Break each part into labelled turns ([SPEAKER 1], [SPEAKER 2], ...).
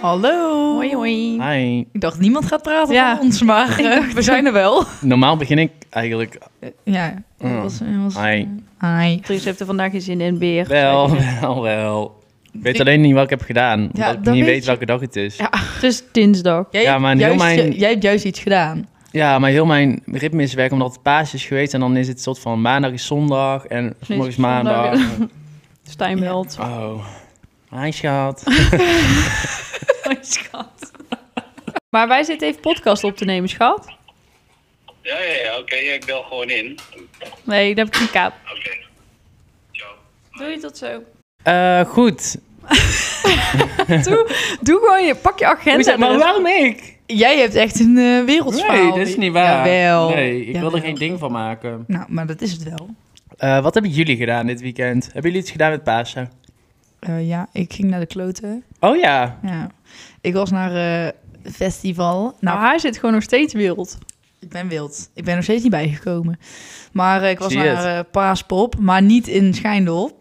[SPEAKER 1] Hallo.
[SPEAKER 2] Hoi, hoi.
[SPEAKER 3] Hi.
[SPEAKER 1] Ik dacht niemand gaat praten
[SPEAKER 2] Ja.
[SPEAKER 1] over ons, maar eh, we zijn er wel.
[SPEAKER 3] Normaal begin ik eigenlijk
[SPEAKER 1] Ja. dat
[SPEAKER 3] Oh.
[SPEAKER 1] Was, dat was,
[SPEAKER 3] Hi.
[SPEAKER 1] Hi.
[SPEAKER 2] Dries heeft er vandaag geen zin in, weer.
[SPEAKER 3] wel, wel, wel. Ik weet alleen niet wat ik heb gedaan. omdat ik
[SPEAKER 1] dat
[SPEAKER 3] niet
[SPEAKER 1] weet
[SPEAKER 3] weet
[SPEAKER 1] je.
[SPEAKER 3] welke dag het is.
[SPEAKER 1] Ja.
[SPEAKER 3] Ja,
[SPEAKER 2] Het is dinsdag.
[SPEAKER 1] Jij,
[SPEAKER 3] Ja, maar heel
[SPEAKER 1] juist, eh,
[SPEAKER 3] mijn-
[SPEAKER 1] jij hebt juist iets gedaan.
[SPEAKER 3] maar heel mijn ritme is weg omdat het paas is geweest. En dan is het soort van maandag is zondag en morgen is maandag.
[SPEAKER 2] Stijn
[SPEAKER 1] Ja.
[SPEAKER 2] meldt.
[SPEAKER 3] Oh, hi schat.
[SPEAKER 2] Hoi, schat. Maar wij zitten even podcast op te nemen, schat.
[SPEAKER 4] Ja, ja, ja, oké, ja, ik bel gewoon in.
[SPEAKER 2] Nee, daar heb ik een kaap.
[SPEAKER 4] Oké. Ciao.
[SPEAKER 2] Doei, tot zo.
[SPEAKER 3] Eh, goed.
[SPEAKER 2] Doe gewoon je, pak je
[SPEAKER 3] Hoe is
[SPEAKER 2] agenda.
[SPEAKER 3] dat? maar
[SPEAKER 2] erin.
[SPEAKER 3] waarom ik?
[SPEAKER 1] Jij hebt echt een eh wereldverhaal.
[SPEAKER 3] Nee, dat is niet waar.
[SPEAKER 1] Jawel.
[SPEAKER 3] Nee, ik wil
[SPEAKER 1] Jawel.
[SPEAKER 3] er geen ding van maken.
[SPEAKER 1] Nou, maar dat is het wel.
[SPEAKER 3] Eh, wat hebben jullie gedaan dit weekend? Hebben jullie iets gedaan met Pasen?
[SPEAKER 1] Eh, ja, ik ging naar de kloten.
[SPEAKER 3] Oh ja.
[SPEAKER 1] Ja. Ik was naar eh festival.
[SPEAKER 2] Nou,
[SPEAKER 1] Nou,
[SPEAKER 2] haar zit gewoon nog steeds wild.
[SPEAKER 1] ik ben wild. Ik ben nog steeds niet bijgekomen. Maar eh, ik was
[SPEAKER 3] Zie
[SPEAKER 1] naar eh, Paaspop, maar niet in Schijndel.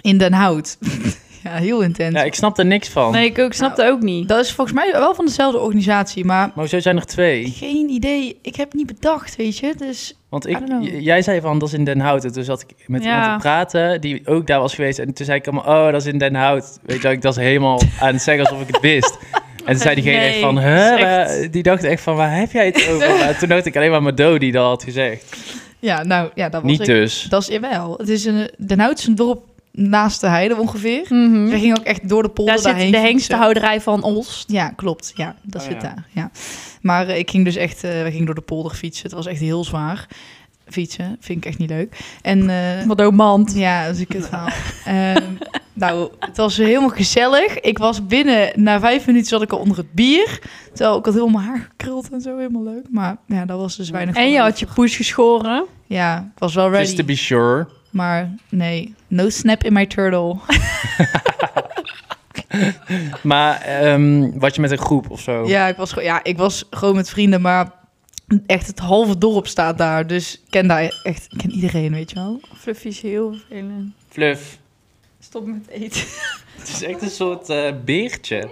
[SPEAKER 1] In Den Hout. ja, heel intens.
[SPEAKER 3] Ja, ik snap er niks van.
[SPEAKER 2] Nee, ik ook, snap dat ook niet.
[SPEAKER 1] Dat is volgens mij wel van dezelfde organisatie, maar
[SPEAKER 3] Maar zo zijn er twee.
[SPEAKER 1] geen idee. Ik heb het niet bedacht, weet je. Dus
[SPEAKER 3] Want
[SPEAKER 1] I
[SPEAKER 3] ik,
[SPEAKER 1] don't know.
[SPEAKER 3] j- jij zei van, dat is in Den Hout. En toen zat ik met
[SPEAKER 2] Ja.
[SPEAKER 3] iemand te praten, die ook daar was geweest. En toen zei ik allemaal, oh, dat is in Den Hout. Weet je, wel, ik was helemaal aan het zeggen alsof ik het wist. En toen zei diegene
[SPEAKER 2] Nee,
[SPEAKER 3] echt van,
[SPEAKER 2] dat
[SPEAKER 3] hè?
[SPEAKER 2] is echt-
[SPEAKER 3] waar- Die dacht echt van, waar heb jij het over? Maar toen dacht ik alleen maar Mado die dat had gezegd.
[SPEAKER 1] ja, nou ja, dat was
[SPEAKER 3] Niet
[SPEAKER 1] ik.
[SPEAKER 3] dus.
[SPEAKER 1] Dat is wel. Het is een, Den Hout is een dorp naast de heide ongeveer.
[SPEAKER 2] Mhm.
[SPEAKER 1] We gingen ook echt door Hm. de polder
[SPEAKER 2] Daar zit
[SPEAKER 1] daarheen
[SPEAKER 2] de
[SPEAKER 1] fietsen.
[SPEAKER 2] hengstenhouderij van Olst.
[SPEAKER 1] Ja, klopt. Ja, dat
[SPEAKER 3] Oh,
[SPEAKER 1] zit
[SPEAKER 3] ja.
[SPEAKER 1] daar. Ja. Maar eh, ik ging dus echt, eh, we gingen door de polder fietsen. Het was echt heel zwaar. Fietsen vind ik echt niet leuk. En eh,
[SPEAKER 2] Wat ook mand.
[SPEAKER 1] Ja, dat is een kutverhaal. Ehm, nou, het was helemaal gezellig. Ik was binnen, na vijf minuten zat ik al onder het bier. Terwijl ik had heel mijn haar gekruld en zo, helemaal leuk. Maar ja, dat was dus weinig
[SPEAKER 2] En
[SPEAKER 1] van
[SPEAKER 2] je had
[SPEAKER 1] over.
[SPEAKER 2] je poes geschoren.
[SPEAKER 1] Ja, ik was wel ready.
[SPEAKER 3] Just to be sure.
[SPEAKER 1] Maar nee, no snap in my turtle.
[SPEAKER 3] Maar ehm wat je met een groep of zo.
[SPEAKER 1] Ja, ik was, gewoon- ja, ik was gewoon met vrienden, maar echt het halve dorp staat daar. Dus ik ken daar echt, ik ken iedereen, weet je wel.
[SPEAKER 2] Fluffy is heel vervelend.
[SPEAKER 3] Fluff.
[SPEAKER 2] Stop met eten.
[SPEAKER 3] Het is echt een soort eh, beertje.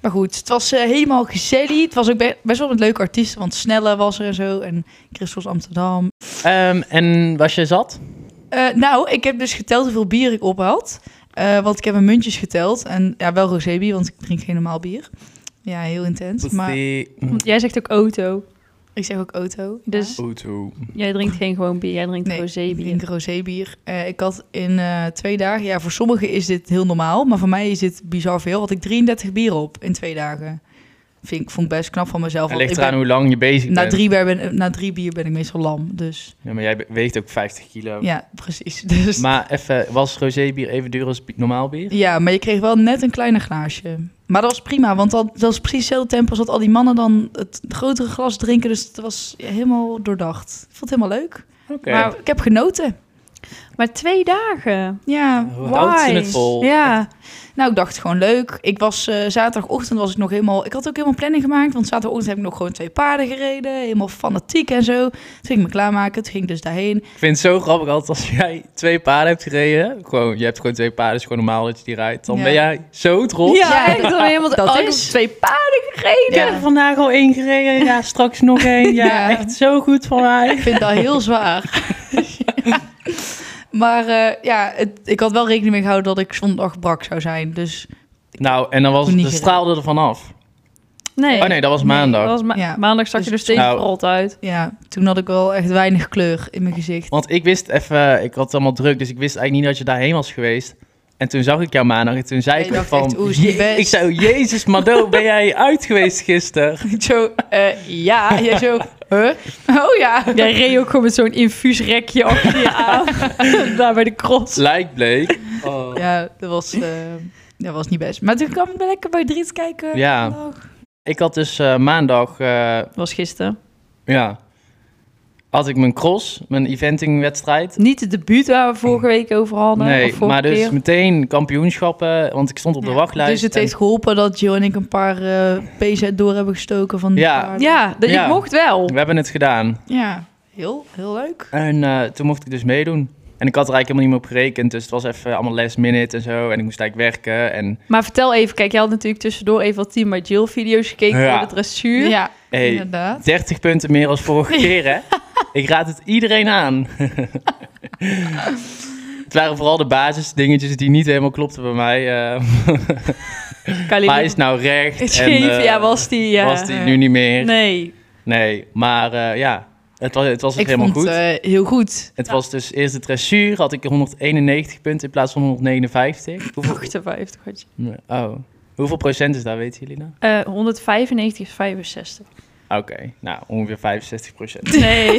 [SPEAKER 1] Maar goed, het was eh, helemaal gezellig. Het was ook be- best wel met leuke artiesten, want Snelle was er en zo. En Christos Amsterdam.
[SPEAKER 3] Ehm, en was je zat?
[SPEAKER 1] Eh, nou, ik heb dus geteld hoeveel bier ik op had. Eh, want ik heb mijn muntjes geteld. En ja, wel rosébier, want ik drink geen normaal bier. Ja, heel intens. Maar
[SPEAKER 3] Die...
[SPEAKER 2] Want jij zegt ook auto.
[SPEAKER 1] ik zeg ook auto.
[SPEAKER 2] Dus
[SPEAKER 3] Auto.
[SPEAKER 2] jij drinkt geen gewoon bier, jij drinkt
[SPEAKER 1] Nee,
[SPEAKER 2] rosébier.
[SPEAKER 1] Ik drink rosébier. Eh, ik had in eh, twee dagen... Ja, voor sommigen is dit heel normaal. Maar voor mij is dit bizar veel. Want ik 33 bier op in twee dagen. Vind ik, vond ik best knap van mezelf.
[SPEAKER 3] Het
[SPEAKER 1] want
[SPEAKER 3] ligt
[SPEAKER 1] ik
[SPEAKER 3] eraan
[SPEAKER 1] ben-
[SPEAKER 3] hoe lang je bezig
[SPEAKER 1] na,
[SPEAKER 3] bent.
[SPEAKER 1] drie bier ben, na drie bier ben ik meestal lam. Dus
[SPEAKER 3] Ja, maar jij be- weegt ook 50 kilo.
[SPEAKER 1] ja, precies. Dus,
[SPEAKER 3] Maar even, was rosébier even duur als bi- normaal bier?
[SPEAKER 1] Ja, maar je kreeg wel net een kleiner glaasje. Maar dat was prima, want dat, dat was precies hetzelfde tempo als dat al die mannen dan het grotere glas drinken. Dus het was helemaal doordacht. Ik vond het helemaal leuk.
[SPEAKER 3] Oké.
[SPEAKER 1] Maar ik heb genoten.
[SPEAKER 2] Maar twee dagen.
[SPEAKER 1] Ja,
[SPEAKER 3] Hoe houdt ze het vol?
[SPEAKER 2] Ja.
[SPEAKER 1] nou ik dacht het gewoon leuk. Ik was eh, zaterdagochtend was ik nog helemaal. Ik had ook helemaal planning gemaakt, want zaterdagochtend heb ik nog gewoon twee paarden gereden, helemaal fanatiek en zo. Toen ging ik me klaarmaken, toen ging ik dus daarheen.
[SPEAKER 3] Ik vind het zo grappig altijd als jij twee paarden hebt gereden. Gewoon, je hebt gewoon twee paarden, is gewoon normaal dat je die rijdt. Dan
[SPEAKER 1] Ja.
[SPEAKER 3] ben jij zo trots.
[SPEAKER 1] Ja,
[SPEAKER 2] ik dan helemaal
[SPEAKER 1] dat
[SPEAKER 2] oh, ik
[SPEAKER 1] is-
[SPEAKER 2] heb twee paarden gereden.
[SPEAKER 1] Ja.
[SPEAKER 3] vandaag al één gereden, ja, straks nog één.
[SPEAKER 1] Ja.
[SPEAKER 3] zo goed van mij.
[SPEAKER 1] Ik vind dat heel zwaar. Ja. Maar eh, ja, het- ik had wel rekening mee gehouden dat ik zondag brak zou zijn. Dus
[SPEAKER 3] Nou, en dan was
[SPEAKER 1] Niet
[SPEAKER 3] de
[SPEAKER 1] gereden.
[SPEAKER 3] straalde er vanaf.
[SPEAKER 2] Nee.
[SPEAKER 3] Oh nee, dat was
[SPEAKER 2] Dat
[SPEAKER 3] maandag.
[SPEAKER 2] was ma-
[SPEAKER 1] Ja.
[SPEAKER 2] Maandag zag je
[SPEAKER 1] Dus-
[SPEAKER 2] er steeds
[SPEAKER 3] Nou.
[SPEAKER 2] rot uit.
[SPEAKER 1] Ja, toen had ik wel echt weinig kleur in mijn gezicht.
[SPEAKER 3] Want ik wist even, ik had het allemaal druk, dus ik wist eigenlijk niet dat je daarheen was geweest. En toen zag ik jou maandag en toen zei
[SPEAKER 1] Jij
[SPEAKER 3] ik ook
[SPEAKER 1] dacht
[SPEAKER 3] van...
[SPEAKER 1] echt, oeh, is niet
[SPEAKER 3] "Je-
[SPEAKER 1] best."
[SPEAKER 3] Ik zei, jezus, Mado, ben jij uit geweest gisteren?
[SPEAKER 1] zo, eh, ja. Jij zo, huh? Oh ja.
[SPEAKER 2] Jij reed ook gewoon met zo'n infuusrekje achter je aan. Daar bij de cross.
[SPEAKER 3] Lijk bleek.
[SPEAKER 1] Ja, dat was, eh, dat was niet best. Maar toen kwam ik wel lekker bij Dries kijken.
[SPEAKER 3] Ja.
[SPEAKER 1] vandaag.
[SPEAKER 3] Ik had dus eh, maandag, eh,
[SPEAKER 2] was gisteren.
[SPEAKER 3] ja, had ik mijn cross, mijn eventingwedstrijd.
[SPEAKER 2] Niet het debuut waar we vorige week over hadden.
[SPEAKER 3] Nee,
[SPEAKER 2] of vorige
[SPEAKER 3] maar dus
[SPEAKER 2] keer.
[SPEAKER 3] meteen kampioenschappen, want ik stond op de
[SPEAKER 1] Ja,
[SPEAKER 3] wachtlijst.
[SPEAKER 1] Dus het
[SPEAKER 3] en-
[SPEAKER 1] heeft geholpen dat Joe en ik een paar eh PZ door hebben gestoken van die
[SPEAKER 3] Ja.
[SPEAKER 1] paarden.
[SPEAKER 2] Ja, dat
[SPEAKER 3] Ja.
[SPEAKER 2] je mocht wel.
[SPEAKER 3] We hebben het gedaan.
[SPEAKER 1] ja. Heel, heel leuk.
[SPEAKER 3] En eh, toen mocht ik dus meedoen. En ik had er eigenlijk helemaal niet meer op gerekend. Dus het was even allemaal last minute en zo. En ik moest eigenlijk werken. En
[SPEAKER 2] Maar vertel even, kijk, jij had natuurlijk tussendoor even wat Team by Jill video's gekeken
[SPEAKER 3] Ja.
[SPEAKER 2] voor de dressuur.
[SPEAKER 1] Ja,
[SPEAKER 3] hey,
[SPEAKER 1] inderdaad.
[SPEAKER 3] 30 punten meer als vorige keer, hè? Ik raad het iedereen aan. het waren vooral de basisdingetjes die niet helemaal klopten bij mij. eh
[SPEAKER 2] Kali-
[SPEAKER 3] maar hij is nou recht.
[SPEAKER 2] Het
[SPEAKER 3] en,
[SPEAKER 2] scheef,
[SPEAKER 3] eh,
[SPEAKER 2] ja, was die. Ja.
[SPEAKER 3] was die nu niet meer. Nee,
[SPEAKER 2] Nee.
[SPEAKER 3] maar eh, ja, het was, het was ook
[SPEAKER 1] Ik
[SPEAKER 3] helemaal
[SPEAKER 1] vond
[SPEAKER 3] goed.
[SPEAKER 1] het eh, heel goed.
[SPEAKER 3] het was dus eerst de dressuur, had ik 191 punten in plaats van 159. Hoeveel,
[SPEAKER 2] 58 had je.
[SPEAKER 3] oh. Hoeveel procent is dat, weten jullie nou?
[SPEAKER 2] Eh, 195 is 65.
[SPEAKER 3] Oké, nou ongeveer 65 procent. Nou,
[SPEAKER 2] Nee.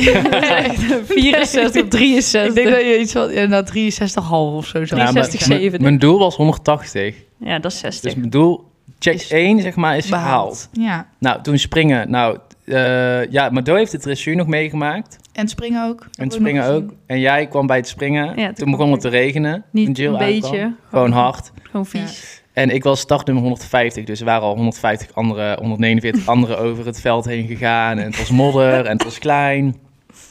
[SPEAKER 2] 64, 63.
[SPEAKER 1] Ik denk dat je iets van, ja, nou, 63,5 of zo zou
[SPEAKER 2] Ja,
[SPEAKER 1] ik
[SPEAKER 2] maar-
[SPEAKER 1] zeggen.
[SPEAKER 2] 60, 70.
[SPEAKER 3] Mijn doel was 180.
[SPEAKER 2] Ja, dat is 60.
[SPEAKER 3] Dus mijn doel, check
[SPEAKER 1] Is
[SPEAKER 3] 1 zeg maar, is gehaald.
[SPEAKER 1] Ja,
[SPEAKER 3] Nou, toen springen. Nou, eh, ja, Mado heeft de dressuur nog meegemaakt.
[SPEAKER 1] en springen ook.
[SPEAKER 3] En het springen ook. En jij kwam bij het springen.
[SPEAKER 2] Ja, toen
[SPEAKER 3] toen begon
[SPEAKER 2] kwam
[SPEAKER 3] het te regenen. toen
[SPEAKER 2] Niet
[SPEAKER 3] Jill
[SPEAKER 2] een beetje. Oh.
[SPEAKER 3] aankwam. Gewoon hard.
[SPEAKER 2] Gewoon vies.
[SPEAKER 3] En ik was startnummer 150, dus er waren al 150 andere, 149 anderen over het veld heen gegaan. En het was modder en het was klein.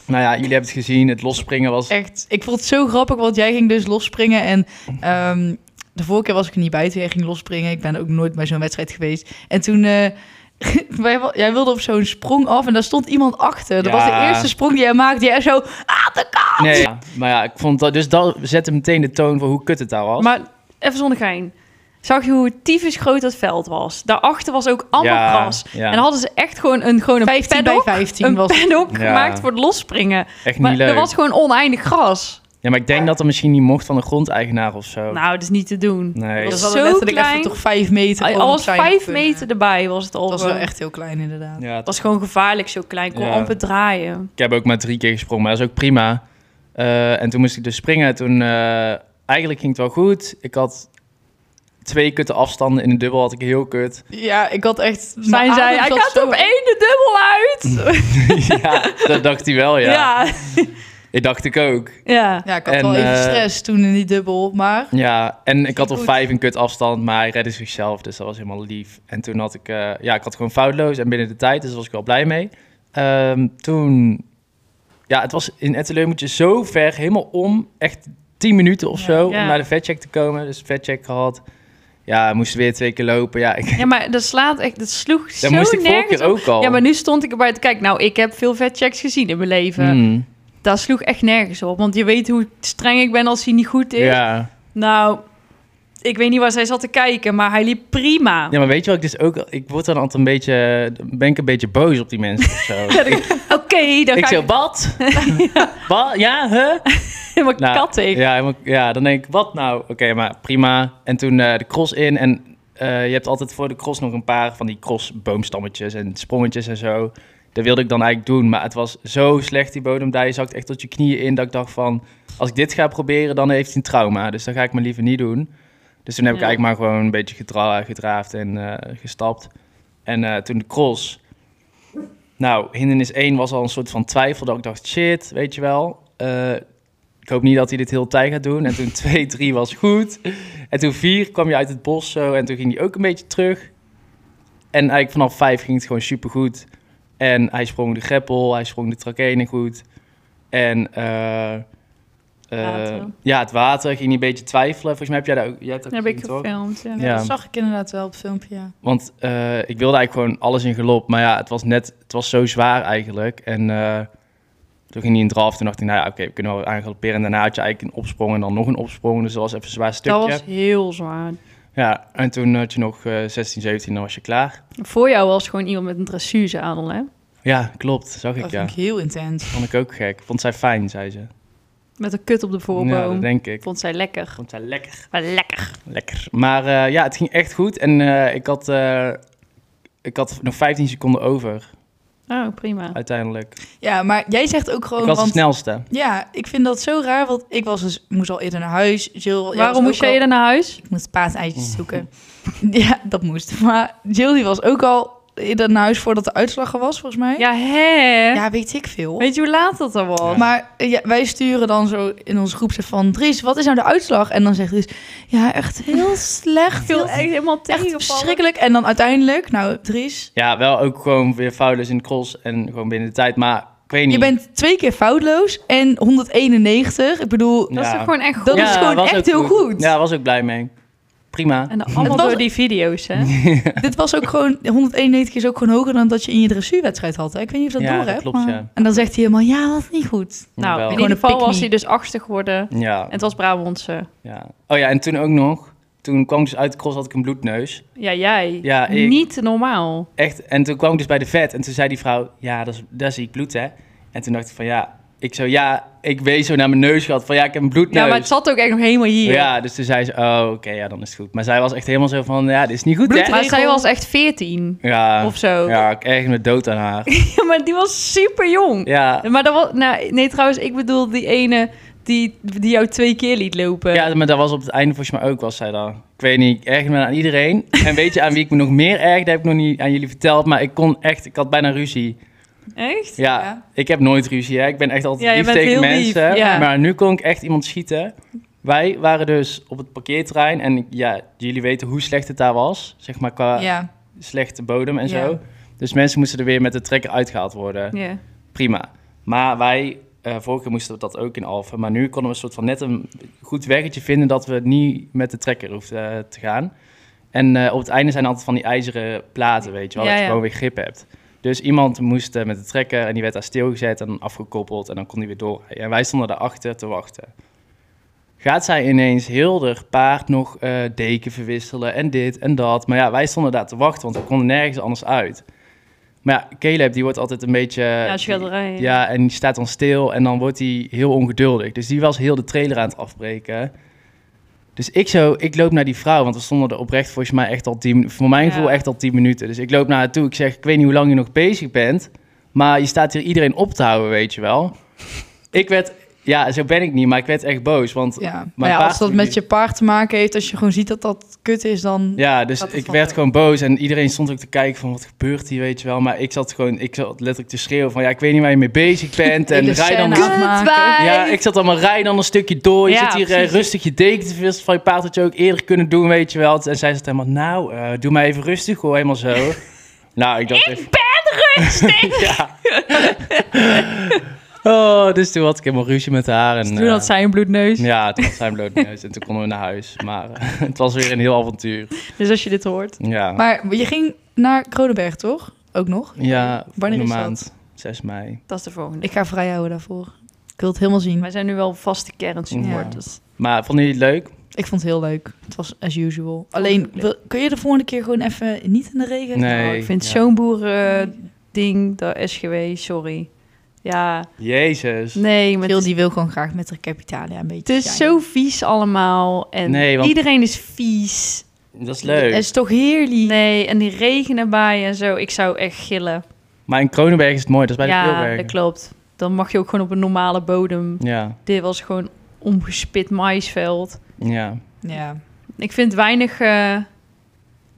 [SPEAKER 3] Nou ja, jullie hebben het gezien, het losspringen was...
[SPEAKER 1] Echt, ik vond het zo grappig, want jij ging dus losspringen. En ehm, de vorige keer was ik er niet bij toen jij ging losspringen. Ik ben ook nooit bij zo'n wedstrijd geweest. En toen... eh, wij wa- Jij wilde op zo'n sprong af en daar stond iemand achter. Dat was de
[SPEAKER 3] Ja.
[SPEAKER 1] eerste sprong die jij maakte. Jij zo, ah, de kant!
[SPEAKER 3] Nee, ja, maar ja, ik vond dat... Dus dat zette meteen de toon voor hoe kut het daar was.
[SPEAKER 2] Maar even zonder gein. Zag je hoe tyfus groot dat veld was? Daarachter was ook allemaal
[SPEAKER 3] Ja,
[SPEAKER 2] gras.
[SPEAKER 3] ja.
[SPEAKER 2] En dan hadden ze echt gewoon een, gewoon een
[SPEAKER 1] 15 bij
[SPEAKER 2] paddock,
[SPEAKER 1] 15
[SPEAKER 2] een
[SPEAKER 1] was het.
[SPEAKER 2] paddock
[SPEAKER 3] Ja.
[SPEAKER 2] gemaakt voor het losspringen.
[SPEAKER 3] Echt niet
[SPEAKER 2] Maar
[SPEAKER 3] leuk.
[SPEAKER 2] er was gewoon oneindig gras.
[SPEAKER 3] Ja, maar ik denk dat er misschien niet mocht van de grondeigenaar of zo.
[SPEAKER 2] Nou, dat is niet te doen.
[SPEAKER 3] Oh. nee.
[SPEAKER 2] dat
[SPEAKER 1] Dat
[SPEAKER 2] is
[SPEAKER 1] was
[SPEAKER 2] zo
[SPEAKER 1] letterlijk
[SPEAKER 2] klein.
[SPEAKER 1] even toch 5 meter.
[SPEAKER 2] Al
[SPEAKER 1] gewoon
[SPEAKER 2] was
[SPEAKER 1] zijn
[SPEAKER 2] vijf
[SPEAKER 1] kunnen.
[SPEAKER 2] meter erbij was het al.
[SPEAKER 1] Dat was wel
[SPEAKER 2] gewoon.
[SPEAKER 1] echt heel klein inderdaad.
[SPEAKER 3] Ja,
[SPEAKER 2] Het was gewoon gevaarlijk zo klein. Kon
[SPEAKER 3] Ja.
[SPEAKER 2] amper draaien.
[SPEAKER 3] Ik heb ook maar drie keer gesprongen, maar dat is ook prima. Eh, en toen moest ik dus springen. Toen, eh, eigenlijk ging het wel goed. Ik had twee kutte afstanden in de dubbel, had ik heel kut.
[SPEAKER 1] Ja, ik had echt...
[SPEAKER 2] Zijn
[SPEAKER 1] mijn
[SPEAKER 2] zij,
[SPEAKER 1] adem
[SPEAKER 2] hij
[SPEAKER 1] zat
[SPEAKER 2] gaat
[SPEAKER 1] zo-
[SPEAKER 2] op één de dubbel uit.
[SPEAKER 3] ja, dat dacht hij wel, ja.
[SPEAKER 2] Ja.
[SPEAKER 3] Ik dacht ik ook.
[SPEAKER 2] ja.
[SPEAKER 1] Ja, ik had
[SPEAKER 3] En,
[SPEAKER 1] wel even
[SPEAKER 3] eh,
[SPEAKER 1] stress toen in die dubbel, maar...
[SPEAKER 3] Ja, en ik had al
[SPEAKER 1] Goed.
[SPEAKER 3] vijf in kut afstand, maar hij redde zichzelf, dus dat was helemaal lief. En toen had ik, eh, ja, ik had gewoon foutloos en binnen de tijd, dus daar was ik wel blij mee. Ehm, toen, ja, het was in Etteleu moet je zo ver, helemaal om, echt tien minuten of
[SPEAKER 1] Ja.
[SPEAKER 3] zo,
[SPEAKER 2] Ja.
[SPEAKER 3] om naar de vetcheck te komen. Dus vetcheck gehad, ja, moest weer twee keer lopen, ja, ik,
[SPEAKER 2] Ja, maar dat slaat echt, dat sloeg zo
[SPEAKER 3] dat moest ik vorige
[SPEAKER 2] nergens
[SPEAKER 3] keer ook al.
[SPEAKER 2] Ja, maar nu stond ik erbij te kijken. Nou, ik heb veel vetchecks gezien in mijn leven.
[SPEAKER 3] Mm,
[SPEAKER 2] Dat sloeg echt nergens op. Want je weet hoe streng ik ben als hij niet goed is.
[SPEAKER 3] ja.
[SPEAKER 2] Nou, ik weet niet waar zij zat te kijken, maar hij liep prima.
[SPEAKER 3] ja, maar weet je wat, ik dus ook, ik word dan altijd een beetje, ben ik een beetje boos op die mensen of zo.
[SPEAKER 2] Ja, dan- Oké, dan
[SPEAKER 3] Ik
[SPEAKER 2] ga
[SPEAKER 3] zeg,
[SPEAKER 2] ik
[SPEAKER 3] wat? Wat? Ja, huh?
[SPEAKER 2] helemaal
[SPEAKER 3] Nou,
[SPEAKER 2] kattig.
[SPEAKER 3] Ja, helemaal- ja, dan denk ik, wat nou? Oké, maar prima. En toen eh, de cross in. En eh, je hebt altijd voor de cross nog een paar van die crossboomstammetjes en sprongetjes en zo. Dat wilde ik dan eigenlijk doen. Maar het was zo slecht, die bodem daar. Je zakt echt tot je knieën in. Dat ik dacht van, als ik dit ga proberen, dan heeft hij een trauma. Dus dat ga ik me liever niet doen. Dus toen heb ik
[SPEAKER 2] Ja.
[SPEAKER 3] eigenlijk maar gewoon een beetje gedra gedraafd en eh, gestapt. En eh, toen de cross. Nou, hindernis 1 was al een soort van twijfel. Dat ik dacht, shit, weet je wel. eh, ik hoop niet dat hij dit heel de tijd gaat doen. En toen 2, 3 was goed. En toen 4 kwam je uit het bos zo. En toen ging hij ook een beetje terug. En eigenlijk vanaf 5 ging het gewoon supergoed. En hij sprong de greppel, hij sprong de trakenen goed. En eh, eh,
[SPEAKER 2] Water.
[SPEAKER 3] ja, het water ging hij een beetje twijfelen. Volgens mij heb jij daar ook... Jij hebt dat
[SPEAKER 2] Dat heb ik
[SPEAKER 3] gezien, toch?
[SPEAKER 2] gefilmd. Ja.
[SPEAKER 1] Ja,
[SPEAKER 3] Ja.
[SPEAKER 1] eh, dat zag ik inderdaad wel op het filmpje, ja.
[SPEAKER 3] Want eh, ik wilde eigenlijk gewoon alles in galop. Maar ja, het was net, het was zo zwaar eigenlijk. En eh, toen ging hij in draf. Toen dacht ik, nou ja, oké, we kunnen wel aan galopperen. En daarna had je eigenlijk een opsprong en dan nog een opsprong. Dus dat was even een zwaar stukje.
[SPEAKER 2] Dat was heel zwaar.
[SPEAKER 3] Ja, en toen had je nog eh 16, 17, dan was je klaar.
[SPEAKER 2] Voor jou was gewoon iemand met een dressuurzadel, hè?
[SPEAKER 3] Ja, klopt, zag ik
[SPEAKER 1] Dat
[SPEAKER 3] ja.
[SPEAKER 1] vind ik heel intens.
[SPEAKER 3] Vond ik ook gek. Vond zij fijn, zei ze.
[SPEAKER 2] Met een kut op de
[SPEAKER 3] Ja,
[SPEAKER 2] voorboom.
[SPEAKER 3] dat denk ik.
[SPEAKER 2] Vond zij lekker.
[SPEAKER 3] Vond zij lekker.
[SPEAKER 2] Maar lekker.
[SPEAKER 3] Lekker. Maar eh, ja, het ging echt goed. En eh, ik, had, eh, ik had nog 15 seconden over,
[SPEAKER 2] Oh, prima.
[SPEAKER 3] uiteindelijk.
[SPEAKER 1] Ja, maar jij zegt ook gewoon...
[SPEAKER 3] ik was de
[SPEAKER 1] want,
[SPEAKER 3] snelste.
[SPEAKER 1] Ja, ik vind dat zo raar, want ik was dus, moest al eerder naar huis. Jill, jij was
[SPEAKER 2] Waarom moest
[SPEAKER 1] ook
[SPEAKER 2] jij
[SPEAKER 1] al-
[SPEAKER 2] dan naar huis?
[SPEAKER 1] Ik moest
[SPEAKER 3] Oh.
[SPEAKER 1] paaseitjes zoeken. ja, dat moest. Maar Jill die was ook al eerder naar huis voordat de uitslag er was, volgens mij.
[SPEAKER 2] Ja, hè?
[SPEAKER 1] Ja, weet ik veel.
[SPEAKER 2] Weet je hoe laat dat dan was?
[SPEAKER 1] Maar eh, ja, wij sturen dan zo in onze groep zo van... Dries, wat is nou de uitslag? En dan zegt Dries... Ja, echt heel slecht.
[SPEAKER 2] viel
[SPEAKER 1] Heel
[SPEAKER 2] echt helemaal
[SPEAKER 1] echt
[SPEAKER 2] tegengevallen.
[SPEAKER 1] verschrikkelijk. En dan uiteindelijk, nou Dries...
[SPEAKER 3] Ja, wel ook gewoon weer foutloos in de cross en gewoon binnen de tijd. Maar weet niet.
[SPEAKER 1] Je bent twee keer foutloos en 191. Ik bedoel,
[SPEAKER 2] Dat is
[SPEAKER 3] Ja.
[SPEAKER 2] toch gewoon echt
[SPEAKER 1] Dat
[SPEAKER 2] goed.
[SPEAKER 1] is gewoon
[SPEAKER 3] was
[SPEAKER 1] echt
[SPEAKER 3] ook
[SPEAKER 1] heel goed.
[SPEAKER 3] Ja, was ook blij mee. Prima.
[SPEAKER 2] En dan allemaal
[SPEAKER 1] Het was-
[SPEAKER 2] door die video's, hè?
[SPEAKER 1] dit was ook gewoon... 191 is ook gewoon hoger dan dat je in je dressuurwedstrijd had. Hè? Ik weet niet of je dat
[SPEAKER 3] ja,
[SPEAKER 1] door
[SPEAKER 3] dat
[SPEAKER 1] hebt.
[SPEAKER 3] klopt, ja.
[SPEAKER 1] En dan zegt hij helemaal, ja, dat is niet goed.
[SPEAKER 2] Nou,
[SPEAKER 3] Jawel.
[SPEAKER 2] in
[SPEAKER 1] Gewoon
[SPEAKER 2] ieder
[SPEAKER 1] een
[SPEAKER 2] geval
[SPEAKER 1] pick-me.
[SPEAKER 2] was hij dus achtste geworden. En
[SPEAKER 3] Ja,
[SPEAKER 2] het was Brabantse.
[SPEAKER 3] ja. Oh ja, en toen ook nog. Toen kwam ik dus uit de cross, had ik een bloedneus.
[SPEAKER 2] Ja, jij.
[SPEAKER 3] Ja, ik-
[SPEAKER 2] Niet normaal.
[SPEAKER 3] Echt. En toen kwam ik dus bij de vet. En toen zei die vrouw, ja, dat is- daar zie ik bloed, hè. En toen dacht ik van, ja. Ik zo, ja, ik wees zo naar mijn neus gehad. Van, ja, ik heb een bloedneus.
[SPEAKER 2] Ja, maar het zat ook echt nog helemaal hier.
[SPEAKER 3] dus- Ja, dus toen zei ze, oh, oké, ja, dan is het goed. Maar zij was echt helemaal zo van, ja, dit is niet goed, hè.
[SPEAKER 2] Maar zij
[SPEAKER 1] Regel-
[SPEAKER 2] was echt 14
[SPEAKER 3] Ja,
[SPEAKER 2] of zo.
[SPEAKER 3] ja, ik erg me dood aan haar.
[SPEAKER 2] Ja, maar die was super jong.
[SPEAKER 3] Ja,
[SPEAKER 2] Maar dat was, nou, nee, trouwens, ik bedoel die ene die, die jou twee keer liet lopen.
[SPEAKER 3] Ja, maar dat was op het einde volgens mij ook, was zij dan. Ik weet niet, ik ergerde me aan iedereen. En weet je aan wie ik me nog meer ergerde? Heb ik nog niet aan jullie verteld, maar ik kon echt, ik had bijna ruzie.
[SPEAKER 2] Echt?
[SPEAKER 3] Ja,
[SPEAKER 1] Ja.
[SPEAKER 3] ik heb nooit ruzie, hè. Ik ben echt altijd
[SPEAKER 2] Ja, je
[SPEAKER 3] lief
[SPEAKER 2] bent
[SPEAKER 3] tegen
[SPEAKER 2] heel lief,
[SPEAKER 3] mensen.
[SPEAKER 2] ja.
[SPEAKER 3] Maar nu kon ik echt iemand schieten. Wij waren dus op het parkeerterrein en ik- ja, jullie weten hoe slecht het daar was. Zeg maar qua
[SPEAKER 1] Ja.
[SPEAKER 3] slechte bodem en
[SPEAKER 1] Ja.
[SPEAKER 3] zo. Dus mensen moesten er weer met de trekker uitgehaald worden
[SPEAKER 2] Ja.
[SPEAKER 3] prima. Maar wij, eh vorige keer moesten we dat ook in Alphen. Maar nu konden we een soort van net een goed weggetje vinden dat we niet met de trekker hoefden eh, te gaan. En eh, op het einde zijn altijd van die ijzeren platen, weet je wel,
[SPEAKER 2] Ja,
[SPEAKER 3] dat
[SPEAKER 2] ja.
[SPEAKER 3] je gewoon weer grip hebt. Dus iemand moest eh, met de trekker en die werd daar stilgezet en afgekoppeld en dan kon hij weer door. En wij stonden daarachter te wachten. Gaat zij ineens heel haar paard nog eh, deken verwisselen en dit en dat. Maar ja, wij stonden daar te wachten, want we konden nergens anders uit. Maar ja, Caleb die wordt altijd een beetje...
[SPEAKER 2] Ja,
[SPEAKER 3] die-
[SPEAKER 2] schilderijen.
[SPEAKER 3] ja, en die staat dan stil en dan wordt hij heel ongeduldig. Dus die was heel de trailer aan het afbreken. Dus ik zo, ik loop naar die vrouw, want we stonden er oprecht volgens mij echt al tien, voor mijn
[SPEAKER 2] Ja.
[SPEAKER 3] gevoel echt al tien minuten. Dus ik loop naar haar toe, ik zeg, ik weet niet hoe lang je nog bezig bent, maar je staat hier iedereen op te houden, weet je wel. Ik werd, ja, zo ben ik niet, maar ik werd echt boos, want
[SPEAKER 1] Ja. Maar
[SPEAKER 3] Mijn
[SPEAKER 1] ja,
[SPEAKER 3] paard
[SPEAKER 1] als dat
[SPEAKER 3] die-
[SPEAKER 1] met je paard te maken heeft, als je gewoon ziet dat dat kut is, dan...
[SPEAKER 3] ja, dus
[SPEAKER 1] Dat is
[SPEAKER 3] ik
[SPEAKER 1] wel
[SPEAKER 3] werd
[SPEAKER 1] zo.
[SPEAKER 3] gewoon boos en iedereen stond ook te kijken van wat gebeurt hier, weet je wel. Maar ik zat gewoon, ik zat letterlijk te schreeuwen van ja, ik weet niet waar je mee bezig bent en
[SPEAKER 1] Hele
[SPEAKER 3] rij dan
[SPEAKER 1] scène
[SPEAKER 3] eens
[SPEAKER 1] afmaken.
[SPEAKER 2] Kutwijf!
[SPEAKER 3] Ja, ik zat allemaal rij dan een stukje door. Je
[SPEAKER 2] Ja,
[SPEAKER 3] zit hier eh,
[SPEAKER 2] precies.
[SPEAKER 3] rustig je deken te vissen van je paard. Dat je ook eerder kunnen doen, weet je wel. En zij zat helemaal, nou, eh, doe mij even rustig hoor, helemaal zo. nou, ik dacht even... ja. oh, dus toen had ik helemaal ruzie met haar. En,
[SPEAKER 2] Toen
[SPEAKER 3] eh,
[SPEAKER 2] had zij een bloedneus.
[SPEAKER 3] Ja, toen had zij een blootneus en toen konden we naar huis. Maar eh, het was weer een heel avontuur.
[SPEAKER 2] Dus als je dit hoort.
[SPEAKER 3] Ja,
[SPEAKER 1] Maar je ging naar Kronenberg, toch? Ook nog?
[SPEAKER 3] ja
[SPEAKER 1] Wanneer
[SPEAKER 3] volgende
[SPEAKER 1] is dat?
[SPEAKER 3] maand, 6 mei.
[SPEAKER 2] Dat is de volgende.
[SPEAKER 1] Ik ga vrijhouden daarvoor. Ik wil het helemaal zien.
[SPEAKER 2] Wij zijn nu wel vaste dus- kernsupporters.
[SPEAKER 3] Maar vonden jullie het leuk?
[SPEAKER 1] Ik vond het heel leuk. Het was as usual. Alleen, wil- kun je de volgende keer gewoon even niet in de regen?
[SPEAKER 3] Nee.
[SPEAKER 2] Nou, ik vind
[SPEAKER 3] ja.
[SPEAKER 2] zo'n boerending, dat SGW, sorry. Ja,
[SPEAKER 3] Jezus.
[SPEAKER 2] nee, maar het
[SPEAKER 1] Veel
[SPEAKER 2] is,
[SPEAKER 1] die wil gewoon graag met de Capitalia een beetje
[SPEAKER 2] het is zo vies allemaal. En
[SPEAKER 3] Nee, want-
[SPEAKER 2] iedereen is vies.
[SPEAKER 3] Dat is
[SPEAKER 1] Het
[SPEAKER 3] leuk.
[SPEAKER 1] is toch heerlijk?
[SPEAKER 2] Nee, en die regen erbij en zo. Ik zou echt gillen.
[SPEAKER 3] Maar in Kronenberg is het mooi, dat is bij de
[SPEAKER 2] ja,
[SPEAKER 3] Peelbergen.
[SPEAKER 2] dat klopt. Dan mag je ook gewoon op een normale bodem.
[SPEAKER 3] Ja,
[SPEAKER 2] Dit was gewoon omgespit maïsveld.
[SPEAKER 3] ja.
[SPEAKER 1] Ja.
[SPEAKER 2] Ik vind weinig eh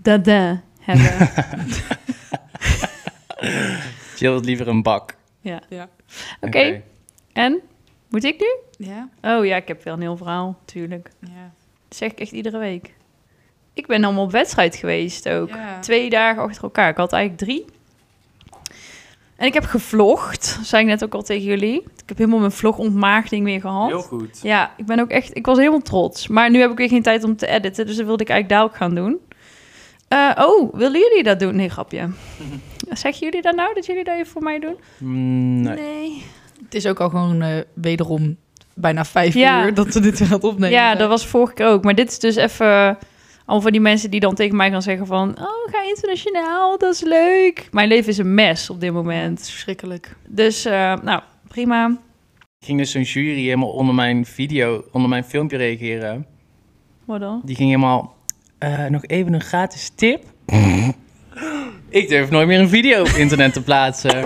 [SPEAKER 2] dada hebben.
[SPEAKER 3] Jill had liever een bak.
[SPEAKER 2] ja.
[SPEAKER 1] Ja.
[SPEAKER 2] Oké, en? Moet ik nu?
[SPEAKER 1] Ja.
[SPEAKER 2] Oh ja, ik heb wel een heel verhaal, tuurlijk.
[SPEAKER 1] Ja.
[SPEAKER 2] Dat zeg ik echt iedere week. Ik ben allemaal op wedstrijd geweest ook. Twee dagen achter elkaar. Ik had eigenlijk drie. En ik heb gevlogd, zei ik net ook al tegen jullie. Ik heb helemaal mijn vlogontmaagding weer gehad.
[SPEAKER 3] goed.
[SPEAKER 2] Ja, ik ben ook echt, ik was helemaal trots. Maar nu heb ik weer geen tijd om te editen, dus dat wilde ik eigenlijk daar ook gaan doen. Eh, oh, willen jullie dat doen? Nee, grapje. Zeggen jullie dat nou, dat jullie dat even voor mij doen?
[SPEAKER 3] Mm, nee.
[SPEAKER 1] Het is ook al gewoon eh, wederom bijna vijf
[SPEAKER 2] Ja.
[SPEAKER 1] uur dat ze dit weer gaat opnemen.
[SPEAKER 2] ja, dat was vorige keer ook. Maar dit is dus even... Al van die mensen die dan tegen mij gaan zeggen van... Oh, ga internationaal, dat is leuk. Mijn leven is een mes op dit
[SPEAKER 1] Het
[SPEAKER 2] moment.
[SPEAKER 1] is verschrikkelijk.
[SPEAKER 2] Dus, eh, nou, prima.
[SPEAKER 3] Ik ging dus zo'n jury helemaal onder mijn video, onder mijn filmpje reageren.
[SPEAKER 2] Wat dan?
[SPEAKER 3] Die ging helemaal, eh, nog even een gratis tip. ik durf nooit meer een video op internet te plaatsen.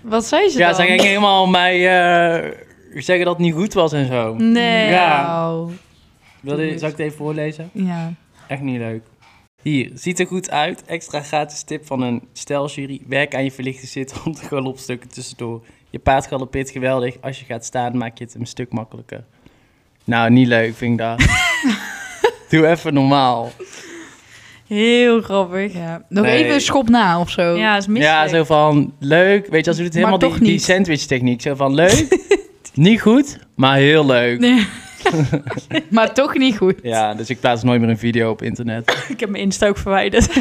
[SPEAKER 1] Wat zei ze
[SPEAKER 3] ja,
[SPEAKER 1] dan?
[SPEAKER 3] zij ging helemaal mij eh, zeggen dat het niet goed was en zo.
[SPEAKER 2] Nee.
[SPEAKER 3] Ja.
[SPEAKER 1] Wauw.
[SPEAKER 3] Wil je, zal ik het even voorlezen?
[SPEAKER 1] Ja.
[SPEAKER 3] Echt niet leuk. Hier, ziet er goed uit. Extra gratis tip van een steljury. Werk aan je verlichte zit om de galopstukken tussendoor. Je paard galoppeert geweldig. Als je gaat staan, maak je het een stuk makkelijker. Nou, niet leuk, vind ik dat. Doe even normaal.
[SPEAKER 2] Heel grappig. Ja,
[SPEAKER 1] Ja. Nog
[SPEAKER 3] Nee.
[SPEAKER 1] even een schop na of zo.
[SPEAKER 2] Oh. is misselijk.
[SPEAKER 3] Ja, zo van leuk. Weet je, als we het
[SPEAKER 1] Maar
[SPEAKER 3] helemaal die,
[SPEAKER 1] toch
[SPEAKER 3] die
[SPEAKER 1] niet.
[SPEAKER 3] sandwich techniek. Zo van leuk, niet goed, maar heel leuk.
[SPEAKER 1] Nee. maar toch niet goed.
[SPEAKER 3] Ja, dus ik plaats nooit meer een video op internet.
[SPEAKER 2] Ik heb mijn Insta ook verwijderd.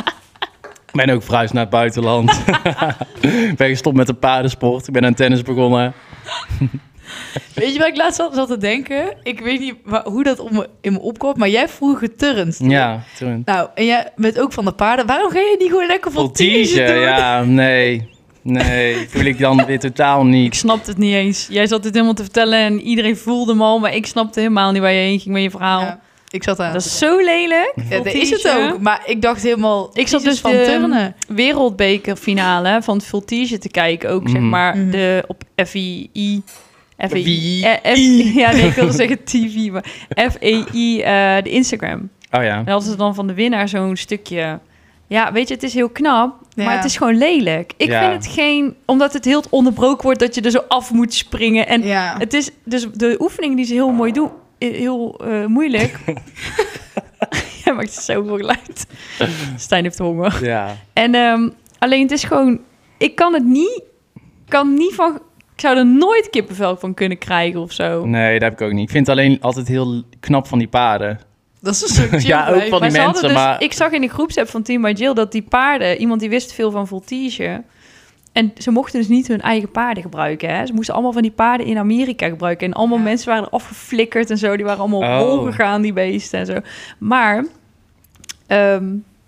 [SPEAKER 3] Ik ben ook verhuisd naar het buitenland. Ik ben gestopt met de paardensport. Ik ben aan tennis begonnen.
[SPEAKER 1] Weet je waar ik laatst aan zat te denken? Ik weet niet wa- hoe dat om me- in me opkomt, maar jij vroeg geturnd.
[SPEAKER 3] Ja, toen.
[SPEAKER 1] Nou, en jij bent ook van de paarden. Waarom ga je niet gewoon lekker voltige
[SPEAKER 3] Voltige,
[SPEAKER 1] doen?
[SPEAKER 3] ja, nee. Nee, voel ik dan weer totaal
[SPEAKER 2] Ik
[SPEAKER 3] niet.
[SPEAKER 2] snapte het niet eens. Jij zat dit helemaal te vertellen en iedereen voelde hem al, maar ik snapte helemaal niet waar je heen ging met je verhaal.
[SPEAKER 1] Ja, ik zat aan.
[SPEAKER 2] Dat is zo lelijk.
[SPEAKER 1] Ja, dat is het
[SPEAKER 2] Voltige.
[SPEAKER 1] ook. Maar ik dacht helemaal...
[SPEAKER 2] Ik zat
[SPEAKER 1] Jezus,
[SPEAKER 2] dus
[SPEAKER 1] van
[SPEAKER 2] de-
[SPEAKER 1] turnen.
[SPEAKER 2] Wereldbekerfinale van het Voltige te kijken ook, zeg
[SPEAKER 3] Mhm.
[SPEAKER 2] maar.
[SPEAKER 1] Mhm.
[SPEAKER 2] De, op FII.
[SPEAKER 3] FII.
[SPEAKER 2] Eh, F- ja, nee, ik wilde zeggen TV, maar FEI, eh, de Instagram.
[SPEAKER 3] Oh ja.
[SPEAKER 2] En hadden ze dan van de winnaar zo'n stukje. Ja, weet je, het is heel knap,
[SPEAKER 1] Ja.
[SPEAKER 2] maar het is gewoon lelijk. Ik
[SPEAKER 3] Ja.
[SPEAKER 2] vind het geen, omdat het heel onderbroken wordt dat je er zo af moet springen. En
[SPEAKER 1] Ja.
[SPEAKER 2] het is dus de oefening die ze heel mooi doen, eh, heel eh, moeilijk. Jij maakt zoveel geluid. Stijn heeft honger.
[SPEAKER 3] Ja.
[SPEAKER 2] En ehm, alleen het is gewoon, ik kan het niet, kan niet van, ik zou er nooit kippenvel van kunnen krijgen of zo.
[SPEAKER 3] Nee, dat heb ik ook niet. Ik vind het alleen altijd heel knap van die paarden.
[SPEAKER 1] Dat is een soort chill
[SPEAKER 3] Ja, ook
[SPEAKER 1] vibe.
[SPEAKER 3] van die
[SPEAKER 2] ze hadden
[SPEAKER 3] mensen,
[SPEAKER 2] dus-
[SPEAKER 3] maar...
[SPEAKER 2] Ik zag in de groepsapp van Team by Jill dat die paarden... Iemand die wist veel van voltige. En ze mochten dus niet hun eigen paarden gebruiken. Hè? Ze moesten allemaal van die paarden in Amerika gebruiken. En allemaal
[SPEAKER 1] Ja.
[SPEAKER 2] mensen waren er afgeflikkerd en zo. Die waren allemaal op
[SPEAKER 3] Oh.
[SPEAKER 2] hol gegaan, die beesten en zo. Maar... ehm,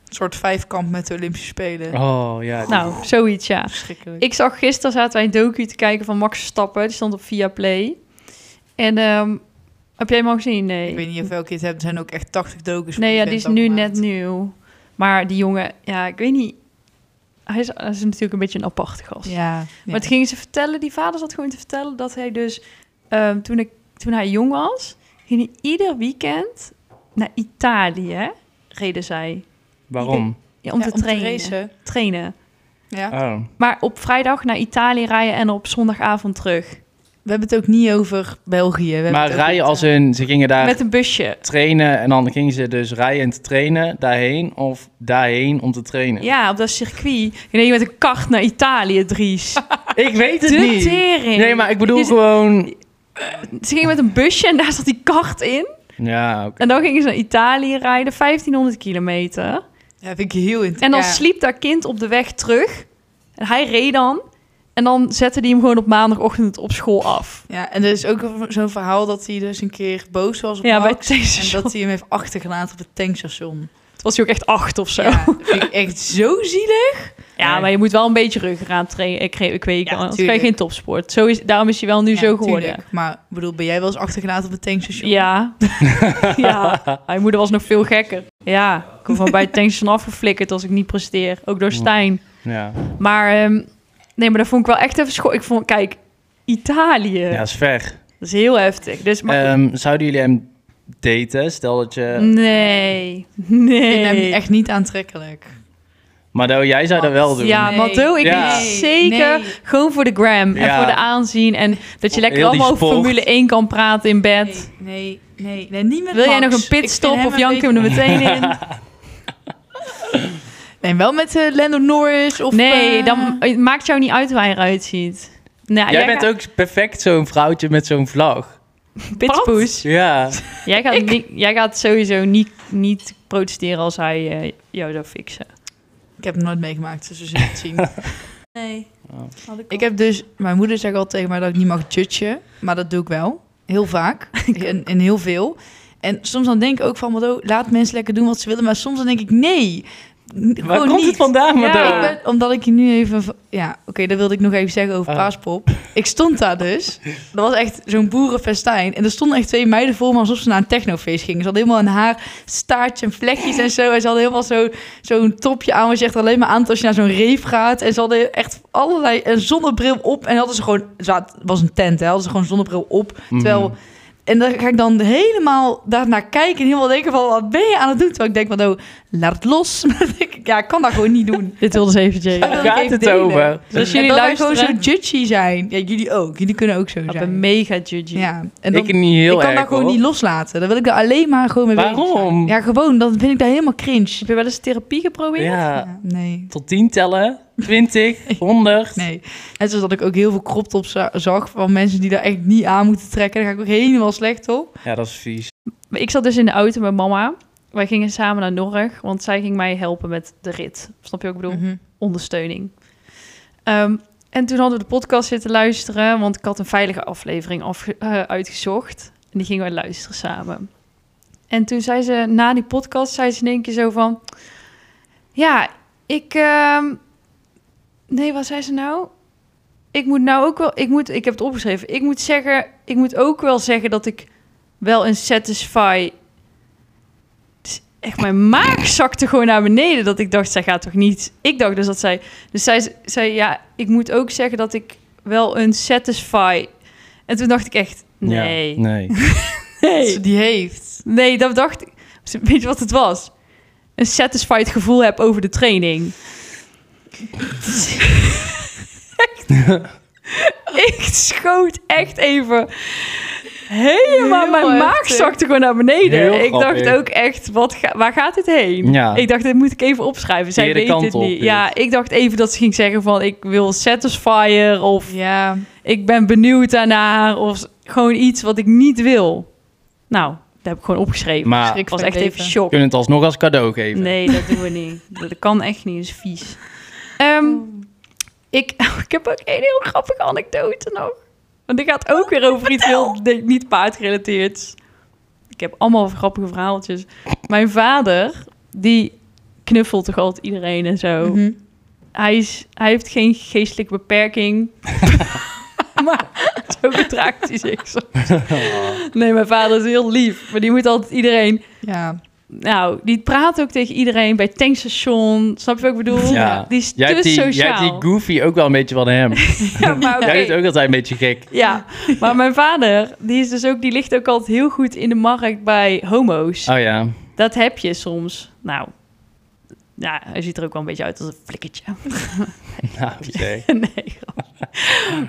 [SPEAKER 1] Een soort vijfkamp met de Olympische Spelen.
[SPEAKER 3] Oh, ja. die-
[SPEAKER 2] nou, zoiets ja.
[SPEAKER 1] Verschrikkelijk.
[SPEAKER 2] Ik zag gisteren zaten wij een docu te kijken van Max Stappen. Die stond op Viaplay. En ehm, heb jij hem al gezien? Nee.
[SPEAKER 1] Ik weet niet of welke het hebben. Er zijn ook echt 80 docu's. van
[SPEAKER 2] Nee, ja, die is
[SPEAKER 1] vent
[SPEAKER 2] nu
[SPEAKER 1] afgemaakt.
[SPEAKER 2] net nieuw. Maar die jongen, ja, ik weet niet. Hij is, hij is natuurlijk een beetje een aparte gast.
[SPEAKER 1] Ja. ja.
[SPEAKER 2] Maar het gingen ze vertellen, die vader zat gewoon te vertellen dat hij dus, ehm, toen, ik, toen hij jong was, ging hij ieder weekend naar Italië, reden zij,
[SPEAKER 3] Waarom?
[SPEAKER 2] ja, om
[SPEAKER 1] Ja,
[SPEAKER 2] te trainen. Ah.
[SPEAKER 1] racen.
[SPEAKER 2] trainen.
[SPEAKER 1] Ja.
[SPEAKER 3] Oh.
[SPEAKER 2] Maar op vrijdag naar Italië rijden en op zondagavond terug.
[SPEAKER 1] We hebben het ook niet over België. We hebben
[SPEAKER 3] Maar
[SPEAKER 1] het ook
[SPEAKER 3] rijden
[SPEAKER 1] niet,
[SPEAKER 3] als
[SPEAKER 1] eh,
[SPEAKER 3] in... Ze gingen daar
[SPEAKER 2] Met een busje.
[SPEAKER 3] trainen en dan gingen ze dus rijden en te trainen daarheen of daarheen om te trainen.
[SPEAKER 2] Ja, op dat circuit. Je neemt met een kart naar Italië, Dries.
[SPEAKER 3] Ik weet het
[SPEAKER 2] De Dus-
[SPEAKER 3] niet.
[SPEAKER 2] tering.
[SPEAKER 3] Nee, maar ik bedoel
[SPEAKER 2] Is-
[SPEAKER 3] gewoon...
[SPEAKER 2] Ze gingen met een busje en daar zat die kart in.
[SPEAKER 3] Ja, oké.
[SPEAKER 2] En dan gingen ze naar Italië rijden, 1500 kilometer.
[SPEAKER 1] Ja, vind ik heel interessant.
[SPEAKER 2] En dan
[SPEAKER 1] Ja.
[SPEAKER 2] sliep dat kind op de weg terug. En hij reed dan. En dan zette hij hem gewoon op maandagochtend op school af.
[SPEAKER 1] Ja, en er is ook zo'n verhaal dat hij dus een keer boos was op
[SPEAKER 2] Ja, bij
[SPEAKER 1] Max.
[SPEAKER 2] het
[SPEAKER 1] En
[SPEAKER 2] tankstation.
[SPEAKER 1] dat hij hem heeft achtergelaten op het tankstation.
[SPEAKER 2] Toen was hij ook echt acht of zo. Ja,
[SPEAKER 1] Ja, vind ik echt zo zielig.
[SPEAKER 2] maar je moet wel een beetje ruggengraat trainen. Ik, ik weet
[SPEAKER 1] Ja,
[SPEAKER 2] het anders kan je
[SPEAKER 1] tuurlijk.
[SPEAKER 2] geen topsport. Zo is, daarom is hij wel nu
[SPEAKER 1] Ja,
[SPEAKER 2] zo geworden.
[SPEAKER 1] tuurlijk. Maar ik bedoel, ben jij wel eens achtergelaten op het tankstation?
[SPEAKER 2] Ja. ja. Mijn moeder was nog veel gekker. Ja, ik word van bij het tankstation afgeflikkerd als ik niet presteer. Ook door Stijn.
[SPEAKER 3] Ja.
[SPEAKER 2] Maar ehm, nee, maar dat vond ik wel echt even schok. Ik vond, kijk, Italië.
[SPEAKER 3] ja, is ver.
[SPEAKER 2] Dat is heel heftig. Dus maar, Mm.
[SPEAKER 3] Ehm, zouden jullie hem daten? Stel dat je...
[SPEAKER 2] nee,
[SPEAKER 1] Ik
[SPEAKER 2] nee.
[SPEAKER 1] vind hem echt niet aantrekkelijk.
[SPEAKER 3] Maar nou, jij zou dat wel doen.
[SPEAKER 2] Ja,
[SPEAKER 1] Nee.
[SPEAKER 2] Mateo, ik
[SPEAKER 3] Ja.
[SPEAKER 2] weet zeker.
[SPEAKER 1] Nee.
[SPEAKER 2] Gewoon voor de gram en
[SPEAKER 3] Ja.
[SPEAKER 2] voor de aanzien. En dat je lekker
[SPEAKER 3] Heel die
[SPEAKER 2] allemaal over
[SPEAKER 3] sport.
[SPEAKER 2] Formule 1 kan praten in bed.
[SPEAKER 1] Nee, nee, nee, nee, niet met
[SPEAKER 2] Wil jij
[SPEAKER 1] Max.
[SPEAKER 2] nog een
[SPEAKER 1] Ik vind
[SPEAKER 2] pitstop
[SPEAKER 1] hem
[SPEAKER 2] of
[SPEAKER 1] een
[SPEAKER 2] janken we er meteen in?
[SPEAKER 1] beetje- Nee, wel met eh, Lando Norris of...
[SPEAKER 2] Nee,
[SPEAKER 1] eh,
[SPEAKER 2] dan het maakt jou niet uit hoe hij eruit ziet. Nou,
[SPEAKER 3] Jij bent ook perfect zo'n vrouwtje met zo'n vlag.
[SPEAKER 2] ook pitspoes.
[SPEAKER 3] Ja.
[SPEAKER 2] Jij gaat, niet- jij gaat sowieso niet, niet protesteren als hij eh, jou zou fixen.
[SPEAKER 1] Ik heb hem nooit meegemaakt, dus we zullen het zien.
[SPEAKER 2] Nee.
[SPEAKER 3] Oh.
[SPEAKER 1] Ik heb dus, mijn moeder zegt al tegen mij dat ik niet mag judgen, maar dat doe ik wel. Heel vaak en, en heel veel. En soms dan denk ik ook van, Mado, laat mensen lekker doen wat ze willen, maar soms dan denk ik nee. N-
[SPEAKER 3] Waar
[SPEAKER 1] gewoon
[SPEAKER 3] komt
[SPEAKER 1] niet.
[SPEAKER 3] het vandaan, Mateo?
[SPEAKER 1] Ik ben, omdat ik je nu even... v- Ja, oké, dat wilde ik nog even zeggen over
[SPEAKER 3] Oh.
[SPEAKER 1] paaspop. Ik stond daar dus. Dat was echt zo'n boerenfestijn. En er stonden echt twee meiden voor me alsof ze naar een technofeest gingen. Ze hadden helemaal een haar staartje en vlekjes en zo. En ze hadden helemaal zo- zo'n topje aan. Wat je echt alleen maar aan als je naar zo'n reef gaat. En ze hadden echt allerlei... Een zonnebril op. En hadden ze gewoon... ze had- Het was een tent, hè. Hadden ze gewoon een zonnebril op. Terwijl... En dan ga ik dan helemaal daarnaar kijken en helemaal denken van... wat ben je aan het doen? Terwijl ik denk van... Oh, laat het los. Maar dan denk ik, ja, ik kan dat gewoon niet doen.
[SPEAKER 2] Dit wilde ze
[SPEAKER 1] Dat
[SPEAKER 2] even Jay.
[SPEAKER 1] wil ik
[SPEAKER 3] Gaat
[SPEAKER 1] even
[SPEAKER 3] het
[SPEAKER 1] delen.
[SPEAKER 3] over?
[SPEAKER 2] Dus als
[SPEAKER 1] En
[SPEAKER 2] jullie
[SPEAKER 1] dat wij gewoon
[SPEAKER 2] luisteren...
[SPEAKER 1] zo judgy zijn. Ja, jullie ook. Jullie kunnen ook zo
[SPEAKER 2] Op
[SPEAKER 1] zijn.
[SPEAKER 2] een mega judgy.
[SPEAKER 1] Ja, en dan,
[SPEAKER 3] ik niet heel
[SPEAKER 1] ik kan
[SPEAKER 3] erg,
[SPEAKER 1] dat gewoon
[SPEAKER 3] hoor.
[SPEAKER 1] niet loslaten. Dan wil ik daar alleen maar gewoon mee bezig zijn.
[SPEAKER 3] Waarom?
[SPEAKER 1] Ja, gewoon. Dan vind ik dat helemaal cringe.
[SPEAKER 2] Heb je wel eens therapie geprobeerd?
[SPEAKER 3] Ja,
[SPEAKER 1] Ja, nee.
[SPEAKER 3] tot 10 tellen, 20, 100.
[SPEAKER 1] Nee. Net zoals dat ik ook heel veel crop tops za- zag van mensen die daar echt niet aan moeten trekken. Daar ga ik ook helemaal slecht op.
[SPEAKER 3] Ja, dat is vies.
[SPEAKER 2] Maar Ik zat dus in de auto met mama. Wij gingen samen naar Norg, want zij ging mij helpen met de rit. Snap je wat ik
[SPEAKER 1] Mhm.
[SPEAKER 2] bedoel? Ondersteuning. Ehm, en toen hadden we de podcast zitten luisteren, want ik had een veilige aflevering afge- eh, uitgezocht. En die gingen wij luisteren samen. En toen zei ze, na die podcast, zei ze in één keer zo van... Ja, ik... ehm, nee, wat zei ze nou? Ik moet nou ook wel... Ik, moet, ik heb het opgeschreven. Ik moet, zeggen, ik moet ook wel zeggen dat ik wel een satisfy. Het is Echt, mijn maag zakte gewoon naar beneden. Dat ik dacht, zij gaat toch niet. Ik dacht dus dat zij. Dus zij zei, ja, ik moet ook zeggen dat ik wel een satisfy. En toen dacht ik echt,
[SPEAKER 3] Ja,
[SPEAKER 2] nee.
[SPEAKER 3] nee.
[SPEAKER 1] Dat ze
[SPEAKER 2] Nee,
[SPEAKER 1] Dus die heeft.
[SPEAKER 2] nee dat dacht ik. Weet je wat het was? Een satisfied gevoel heb over de training. echt. Ik schoot echt even helemaal.
[SPEAKER 1] Heel
[SPEAKER 2] mijn maag
[SPEAKER 1] heftig.
[SPEAKER 2] zakte gewoon naar beneden.
[SPEAKER 3] Heel
[SPEAKER 2] ik dacht
[SPEAKER 3] grappig.
[SPEAKER 2] ook echt, wat ga- waar gaat dit heen?
[SPEAKER 3] Ja.
[SPEAKER 2] Ik dacht, dit moet ik even opschrijven. Zij
[SPEAKER 3] Verkeerde
[SPEAKER 2] weet
[SPEAKER 3] kant
[SPEAKER 2] dit
[SPEAKER 3] op, dus.
[SPEAKER 2] niet.
[SPEAKER 3] dit.
[SPEAKER 2] Ja, ik dacht even dat ze ging zeggen van... ik wil satisfier of
[SPEAKER 1] Ja.
[SPEAKER 2] ik ben benieuwd daarnaar of gewoon iets wat ik niet wil. Nou, dat heb ik gewoon opgeschreven.
[SPEAKER 3] Maar
[SPEAKER 1] Schrik
[SPEAKER 2] ik was
[SPEAKER 1] van
[SPEAKER 2] echt
[SPEAKER 1] je
[SPEAKER 2] even
[SPEAKER 1] leven.
[SPEAKER 3] we
[SPEAKER 2] shock.
[SPEAKER 3] kunnen het alsnog als cadeau geven.
[SPEAKER 2] Nee, dat doen we niet. Dat kan echt niet, dat is vies. Ehm, ik, ik heb ook een heel grappige anekdote nog. Want dit gaat ook weer over iets heel denk ik, niet paardgerelateerd. Ik heb allemaal grappige verhaaltjes. Mijn vader, die knuffelt toch altijd iedereen en zo
[SPEAKER 1] Mhm.
[SPEAKER 2] hij, is, hij heeft geen geestelijke beperking. maar zo gedraagt hij zich soms. Nee, mijn vader is heel lief. Maar die moet altijd iedereen...
[SPEAKER 1] Ja.
[SPEAKER 2] Nou, die praat ook tegen iedereen bij het tankstation. Snap je wat ik bedoel?
[SPEAKER 3] Ja.
[SPEAKER 2] Die is
[SPEAKER 3] Jij
[SPEAKER 2] te
[SPEAKER 3] hebt, die, jij hebt
[SPEAKER 2] sociaal.
[SPEAKER 3] die goofy ook wel een beetje van hem.
[SPEAKER 2] ja, maar oké.
[SPEAKER 3] Jij bent ook altijd een beetje gek.
[SPEAKER 2] Ja, maar mijn vader, die, is dus ook, die ligt ook altijd heel goed in de markt bij homo's.
[SPEAKER 3] Oh ja.
[SPEAKER 2] Dat heb je soms. Nou, ja, hij ziet er ook wel een beetje uit als een flikkertje.
[SPEAKER 3] Nou, zeg.
[SPEAKER 2] nee, grapje.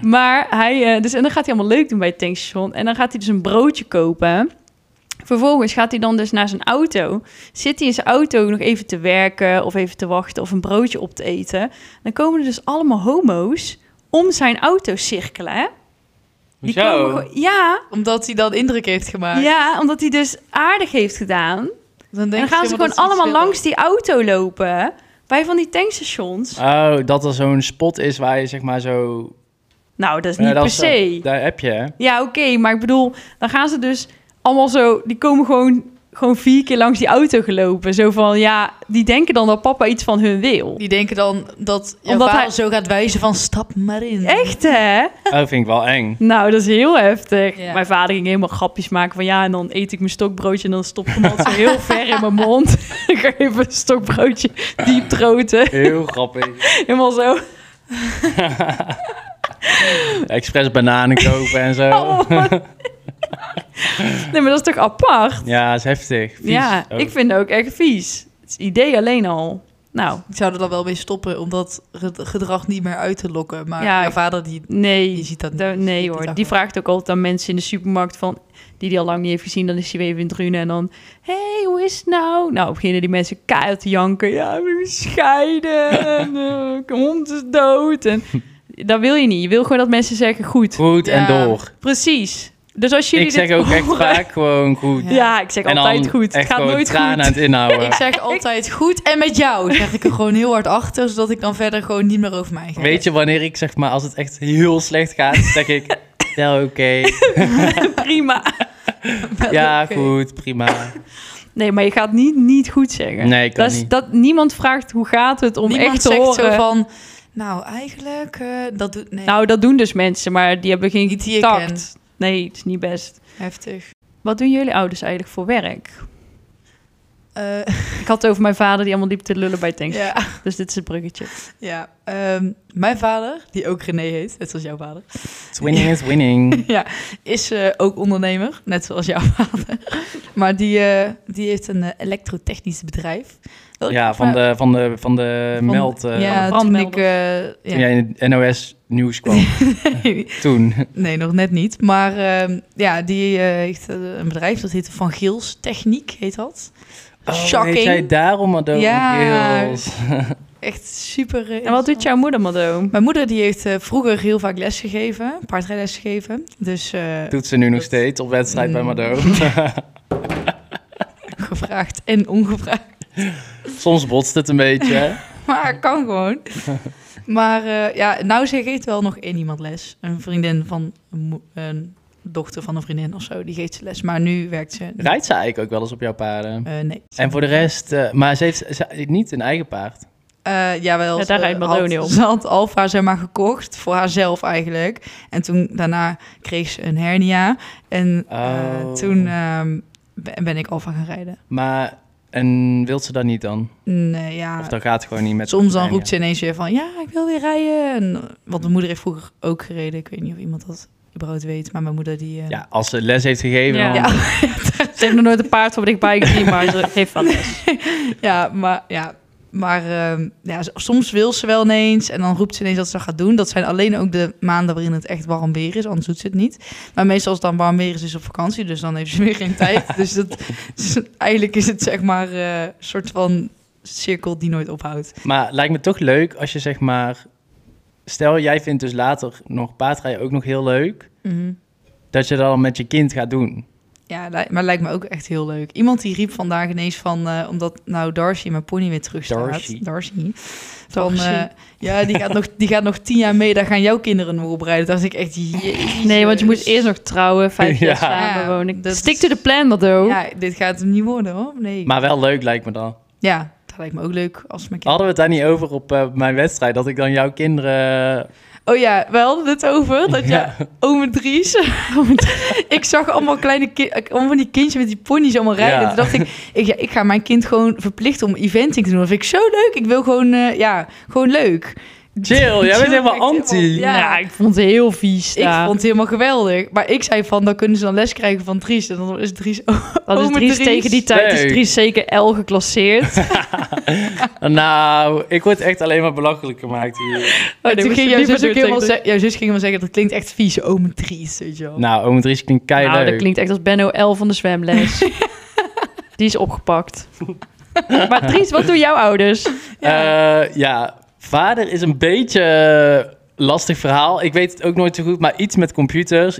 [SPEAKER 2] Maar hij, eh, dus, en dan gaat hij allemaal leuk doen bij het tankstation. En dan gaat hij dus een broodje kopen. Vervolgens gaat hij dan dus naar zijn auto. Zit hij in zijn auto nog even te werken of even te wachten of een broodje op te eten. Dan komen er dus allemaal homo's om zijn auto cirkelen. Hè? Die
[SPEAKER 3] Hoezo?
[SPEAKER 2] komen gewoon- ja,
[SPEAKER 1] Omdat hij dan indruk heeft gemaakt.
[SPEAKER 2] ja, omdat hij dus aardig heeft gedaan.
[SPEAKER 1] Dan,
[SPEAKER 2] en dan gaan ze gewoon allemaal langs die auto lopen. Bij van die tankstations.
[SPEAKER 3] Oh, dat er zo'n spot is waar je zeg maar zo...
[SPEAKER 2] Nou, dat is
[SPEAKER 3] Ja,
[SPEAKER 2] niet
[SPEAKER 3] dat
[SPEAKER 2] per
[SPEAKER 3] is- eh,
[SPEAKER 2] se.
[SPEAKER 3] Daar heb je, hè?
[SPEAKER 2] Ja, oké, maar ik bedoel, dan gaan ze dus allemaal zo, die komen gewoon, gewoon vier keer langs die auto gelopen. Zo van, ja, die denken dan dat papa iets van hun wil.
[SPEAKER 1] Die denken dan dat jouw
[SPEAKER 2] Omdat
[SPEAKER 1] vader
[SPEAKER 2] hij-
[SPEAKER 1] zo gaat wijzen van stap maar in.
[SPEAKER 2] Echt, hè?
[SPEAKER 3] Oh, dat vind ik wel eng.
[SPEAKER 2] Nou, dat is heel heftig.
[SPEAKER 1] Ja.
[SPEAKER 2] Mijn vader ging helemaal grapjes maken van, ja, en dan eet ik mijn stokbroodje en dan stopt hem altijd zo heel ver in mijn mond. ik ga even een stokbroodje diep troten.
[SPEAKER 3] Heel grappig.
[SPEAKER 2] Helemaal zo.
[SPEAKER 3] Express bananen kopen en
[SPEAKER 2] Oh.
[SPEAKER 3] zo.
[SPEAKER 2] Nee, maar dat is toch apart?
[SPEAKER 3] Ja, is heftig. Vies Oh.
[SPEAKER 2] ja,
[SPEAKER 3] ook.
[SPEAKER 2] ik vind het ook echt vies. Het idee alleen al. Nou,
[SPEAKER 1] Ik zou er dan wel mee stoppen om dat ge- gedrag niet meer uit te lokken. Maar
[SPEAKER 2] Ja,
[SPEAKER 1] jouw vader die,
[SPEAKER 2] nee.
[SPEAKER 1] die ziet dat niet.
[SPEAKER 2] Da- nee
[SPEAKER 1] ziet
[SPEAKER 2] hoor,
[SPEAKER 1] dat
[SPEAKER 2] die
[SPEAKER 1] gewoon.
[SPEAKER 2] vraagt ook altijd aan mensen in de supermarkt van... die die al lang niet heeft gezien, dan is hij weer even in Drunen en dan... Hé, hey, hoe is het nou? Nou, beginnen die mensen keihard te janken. Ja, ik ben gescheiden en eh, mijn hond is dood. En, dat wil je niet. Je wil gewoon dat mensen zeggen, goed.
[SPEAKER 3] Goed en
[SPEAKER 1] Ja.
[SPEAKER 3] door.
[SPEAKER 2] Precies. Dus als jullie
[SPEAKER 3] Ik zeg
[SPEAKER 2] dit
[SPEAKER 3] ook echt
[SPEAKER 2] horen-
[SPEAKER 3] vaak gewoon goed.
[SPEAKER 1] Ja.
[SPEAKER 2] Ja, ik zeg
[SPEAKER 3] En
[SPEAKER 2] altijd
[SPEAKER 3] dan
[SPEAKER 2] goed. Het
[SPEAKER 3] echt
[SPEAKER 2] gaat
[SPEAKER 3] gewoon
[SPEAKER 2] nooit
[SPEAKER 3] tranen
[SPEAKER 2] goed.
[SPEAKER 3] aan het inhouden.
[SPEAKER 1] Ik zeg altijd goed en met jou zeg ik er gewoon heel hard achter. Zodat ik dan verder gewoon niet meer over mij ga.
[SPEAKER 3] Weet je wanneer ik zeg maar als het echt heel slecht gaat, zeg ik wel oké.
[SPEAKER 2] Prima.
[SPEAKER 3] Ja,
[SPEAKER 1] Oké.
[SPEAKER 3] goed, prima.
[SPEAKER 2] Nee, maar je gaat niet niet goed zeggen.
[SPEAKER 3] Nee, ik kan
[SPEAKER 2] dat is-
[SPEAKER 3] niet.
[SPEAKER 2] Dat, niemand vraagt hoe gaat het om
[SPEAKER 1] Niemand
[SPEAKER 2] echt te
[SPEAKER 1] zegt zo
[SPEAKER 2] horen.
[SPEAKER 1] van, nou eigenlijk, eh, dat doet... Nee,
[SPEAKER 2] Nou, dat doen dus mensen, maar die hebben geen
[SPEAKER 1] Niet die ik
[SPEAKER 2] tact.
[SPEAKER 1] ken.
[SPEAKER 2] Nee, het is niet best.
[SPEAKER 1] heftig.
[SPEAKER 2] Wat doen jullie ouders eigenlijk voor werk?
[SPEAKER 1] Eh,
[SPEAKER 2] Ik had het over mijn vader die allemaal liep te lullen bij tanks.
[SPEAKER 1] ja,
[SPEAKER 2] Dus dit is het bruggetje.
[SPEAKER 1] ja. Ehm, mijn vader, die ook René heet, net zoals jouw vader,
[SPEAKER 3] Winning is winning.
[SPEAKER 1] ja, is eh, ook ondernemer, net zoals jouw vader. Maar die, eh, die heeft een eh, elektrotechnisch bedrijf. Dat-
[SPEAKER 3] Ja, van
[SPEAKER 1] maar-
[SPEAKER 3] de, van de, van de meld. eh,
[SPEAKER 1] ja, toen
[SPEAKER 2] brandmelders.
[SPEAKER 1] ik... eh, ja.
[SPEAKER 3] Toen jij in het NOS-nieuws kwam. toen.
[SPEAKER 1] Nee, nog net niet. Maar ehm, ja, die eh, heeft eh, een bedrijf dat heet Van Gils Techniek, heet dat.
[SPEAKER 3] Oh,
[SPEAKER 1] Shocking.
[SPEAKER 3] heet jij daarom Madonna
[SPEAKER 1] Ja.
[SPEAKER 3] Hills?
[SPEAKER 1] Echt super. eh,
[SPEAKER 2] En wat doet jouw moeder, Mado?
[SPEAKER 1] Mijn moeder die heeft eh, vroeger heel vaak lesgegeven, paardrijles gegeven. Dus eh,
[SPEAKER 3] Doet ze nu nog steeds op wedstrijd bij
[SPEAKER 1] Mm.
[SPEAKER 3] Mado?
[SPEAKER 1] gevraagd en ongevraagd.
[SPEAKER 3] Soms botst het een beetje. hè?
[SPEAKER 1] Maar kan gewoon. maar eh, ja, nou ze geeft wel nog één iemand les. Een vriendin van een, mo- een dochter van een vriendin of zo, die geeft ze les. Maar nu werkt ze. niet.
[SPEAKER 3] Rijdt ze eigenlijk ook wel eens op jouw paarden?
[SPEAKER 1] Eh, nee.
[SPEAKER 3] Nou, En voor de rest, eh, maar ze heeft ze heeft niet een eigen paard.
[SPEAKER 1] Eh, jawel,
[SPEAKER 2] Ja, daar
[SPEAKER 1] ze
[SPEAKER 2] rijdt
[SPEAKER 1] had-
[SPEAKER 2] Madoni op.
[SPEAKER 1] Ze had Alfa zeg maar gekocht, voor haarzelf eigenlijk. En toen daarna kreeg ze een hernia. En eh,
[SPEAKER 3] Oh.
[SPEAKER 1] toen ehm, ben ben ik Alfa gaan rijden.
[SPEAKER 3] Maar, en wilt ze dat niet dan?
[SPEAKER 1] Nee, ja.
[SPEAKER 3] Of dan gaat het gewoon niet met
[SPEAKER 1] Ah, Soms dan
[SPEAKER 3] Nee,
[SPEAKER 1] roept ze
[SPEAKER 3] ja.
[SPEAKER 1] ineens weer van, ja, ik wil weer rijden. En, want mijn moeder heeft vroeger ook gereden. Ik weet niet of iemand dat überhaupt weet, maar mijn moeder die... eh,
[SPEAKER 3] Ja, als ze les heeft gegeven,
[SPEAKER 2] Ja.
[SPEAKER 3] dan-
[SPEAKER 1] Ja,
[SPEAKER 2] Ze heeft nog nooit een paard voor dichtbij gezien, maar ze geeft wat.
[SPEAKER 1] ja, maar, ja, maar ehm, ja, s- soms wil ze wel ineens en dan roept ze ineens dat ze dat gaat doen. Dat zijn alleen ook de maanden waarin het echt warm weer is, anders doet ze het niet. Maar meestal als het dan warm weer is, is ze op vakantie, dus dan heeft ze weer geen tijd. Dus dat, dus eigenlijk is het zeg maar eh, een soort van cirkel die nooit ophoudt.
[SPEAKER 3] Maar lijkt me toch leuk als je zeg maar... Stel, jij vindt dus later nog paardrijden ook nog heel leuk. Dat je dat dan met je kind gaat doen.
[SPEAKER 1] Ja, lij- maar lijkt me ook echt heel leuk. Iemand die riep vandaag ineens van, eh, omdat nou Darcy, mijn pony, weer terug staat.
[SPEAKER 3] Darcy.
[SPEAKER 1] Darcy. Van,
[SPEAKER 2] Darcy.
[SPEAKER 1] eh, ja, die gaat, nog, die gaat nog tien jaar mee, daar gaan jouw kinderen nog op rijden. Toen dacht ik echt, jezus.
[SPEAKER 2] Nee, want je moet eerst nog trouwen, vijf jaar
[SPEAKER 3] Ja.
[SPEAKER 2] samen
[SPEAKER 1] Ja,
[SPEAKER 2] wonen.
[SPEAKER 1] dat
[SPEAKER 2] Stick
[SPEAKER 1] is-
[SPEAKER 2] to the plan, Mado.
[SPEAKER 1] Ja, dit gaat hem niet worden hoor. Nee.
[SPEAKER 3] Maar wel leuk lijkt me dan.
[SPEAKER 1] ja, dat lijkt me ook leuk als mijn kind...
[SPEAKER 3] Hadden we het daar niet over op eh, mijn wedstrijd? Dat ik dan jouw kinderen...
[SPEAKER 1] Oh ja, we hadden het over dat ja.
[SPEAKER 3] Ja.
[SPEAKER 1] je ome Dries... ome Dries- ik zag allemaal kleine ki- allemaal van die kindjes met die pony's allemaal rijden.
[SPEAKER 3] Ja.
[SPEAKER 1] Toen dacht ik, ik, ja, ik ga mijn kind gewoon verplichten om eventing te doen. Dat vind ik zo leuk. Ik wil gewoon, eh, ja, gewoon leuk.
[SPEAKER 3] Chill, jij
[SPEAKER 1] Chill,
[SPEAKER 3] bent helemaal
[SPEAKER 1] ik-
[SPEAKER 3] anti.
[SPEAKER 1] Ja.
[SPEAKER 2] Ja. ik vond het heel vies
[SPEAKER 1] Dus Ik
[SPEAKER 2] daar.
[SPEAKER 1] vond het helemaal geweldig. Maar ik zei van, dan kunnen ze dan les krijgen van Dries. En dan is Dries ook...
[SPEAKER 2] Dat is
[SPEAKER 1] Ome
[SPEAKER 2] Dries
[SPEAKER 1] Dries.
[SPEAKER 2] tegen die tijd.
[SPEAKER 3] Nee.
[SPEAKER 2] Is Dries zeker L geclasseerd. Oh,
[SPEAKER 3] Nou, ik word echt alleen maar belachelijk gemaakt hier.
[SPEAKER 2] nee,
[SPEAKER 1] toen
[SPEAKER 2] moest je
[SPEAKER 1] ging jouw
[SPEAKER 2] niet
[SPEAKER 1] zus, ook
[SPEAKER 2] bedoelen
[SPEAKER 1] helemaal
[SPEAKER 2] tegen
[SPEAKER 1] ze- jouw zus ging helemaal zeggen, dat klinkt echt vies, ome Dries, weet je wel.
[SPEAKER 3] Nou, oom Dries klinkt
[SPEAKER 2] de-
[SPEAKER 3] keihard
[SPEAKER 2] Nou, dat
[SPEAKER 3] leuk.
[SPEAKER 2] klinkt echt als Benno L van de zwemles. die is opgepakt. maar Dries, wat doen jouw ouders?
[SPEAKER 3] Ja. Eh, ja, vader is een beetje eh, lastig verhaal. Ik weet het ook nooit zo goed, maar iets met computers,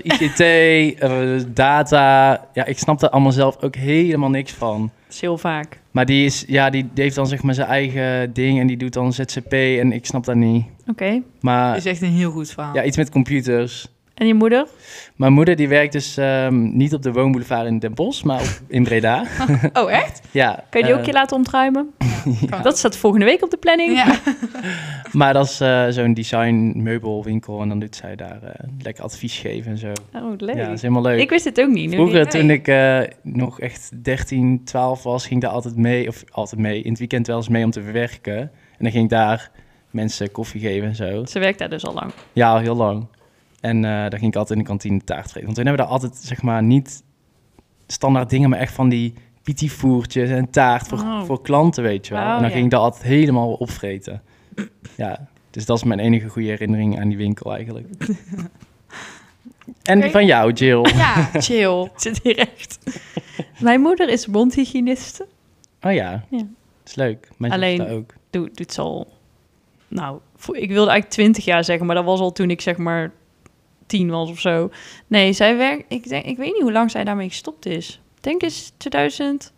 [SPEAKER 3] ICT, eh, data. Ja, ik snap daar allemaal zelf ook helemaal niks van.
[SPEAKER 2] Dat is heel vaak.
[SPEAKER 3] Maar die, is, ja, die, die heeft dan zeg maar zijn eigen ding en die doet dan ZCP en ik snap dat niet.
[SPEAKER 2] Oké.
[SPEAKER 1] Dat
[SPEAKER 3] Maar
[SPEAKER 1] is echt een heel goed verhaal.
[SPEAKER 3] Nou. ja, iets met computers.
[SPEAKER 2] En je moeder?
[SPEAKER 3] Mijn moeder die werkt dus ehm, niet op de woonboulevard in Den Bosch, maar op, in Breda.
[SPEAKER 1] Oh, echt?
[SPEAKER 3] ja,
[SPEAKER 2] Kun je die
[SPEAKER 3] eh,
[SPEAKER 2] ook je laten ontruimen? Dat staat volgende week op de planning.
[SPEAKER 1] Ja.
[SPEAKER 3] Maar dat is eh, zo'n design meubelwinkel en dan doet zij daar eh, lekker advies geven en zo.
[SPEAKER 2] Oh, leuk.
[SPEAKER 3] Ja, dat is helemaal leuk.
[SPEAKER 2] ik wist dit ook niet. nu
[SPEAKER 3] Vroeger,
[SPEAKER 2] weet ik.
[SPEAKER 3] toen ik eh, nog echt 13, 12 was, ging ik daar altijd mee, of altijd mee, in het weekend wel eens mee om te werken. En dan ging ik daar mensen koffie geven en zo.
[SPEAKER 2] Ze werkt daar dus al lang.
[SPEAKER 3] Ja, al heel lang. En eh daar ging ik altijd in de kantine taart geven. Want toen hebben we daar altijd, zeg maar, niet standaard dingen, maar echt van die pietivoertjes en taart voor,
[SPEAKER 2] Oh.
[SPEAKER 3] voor klanten, weet je wel.
[SPEAKER 2] Wauw,
[SPEAKER 3] en dan
[SPEAKER 2] ja.
[SPEAKER 3] ging ik daar altijd helemaal opvreten. Ja, dus dat is mijn enige goede herinnering aan die winkel eigenlijk. en
[SPEAKER 1] Oké.
[SPEAKER 3] van jou, Jill.
[SPEAKER 1] Ja, chill.
[SPEAKER 2] Ik zit hier echt. Mijn moeder is mondhygiëniste.
[SPEAKER 3] Oh ja,
[SPEAKER 2] Ja.
[SPEAKER 3] is leuk. Mijn
[SPEAKER 2] Alleen-
[SPEAKER 3] Alleen... ook.
[SPEAKER 2] Doe, doet ze al... Nou, vo- ik wilde eigenlijk 20 jaar zeggen, maar dat was al toen ik zeg maar tien was of zo. Nee, zij werkt... Ik, denk, ik weet niet hoe lang zij daarmee gestopt is. Ik denk is 2000...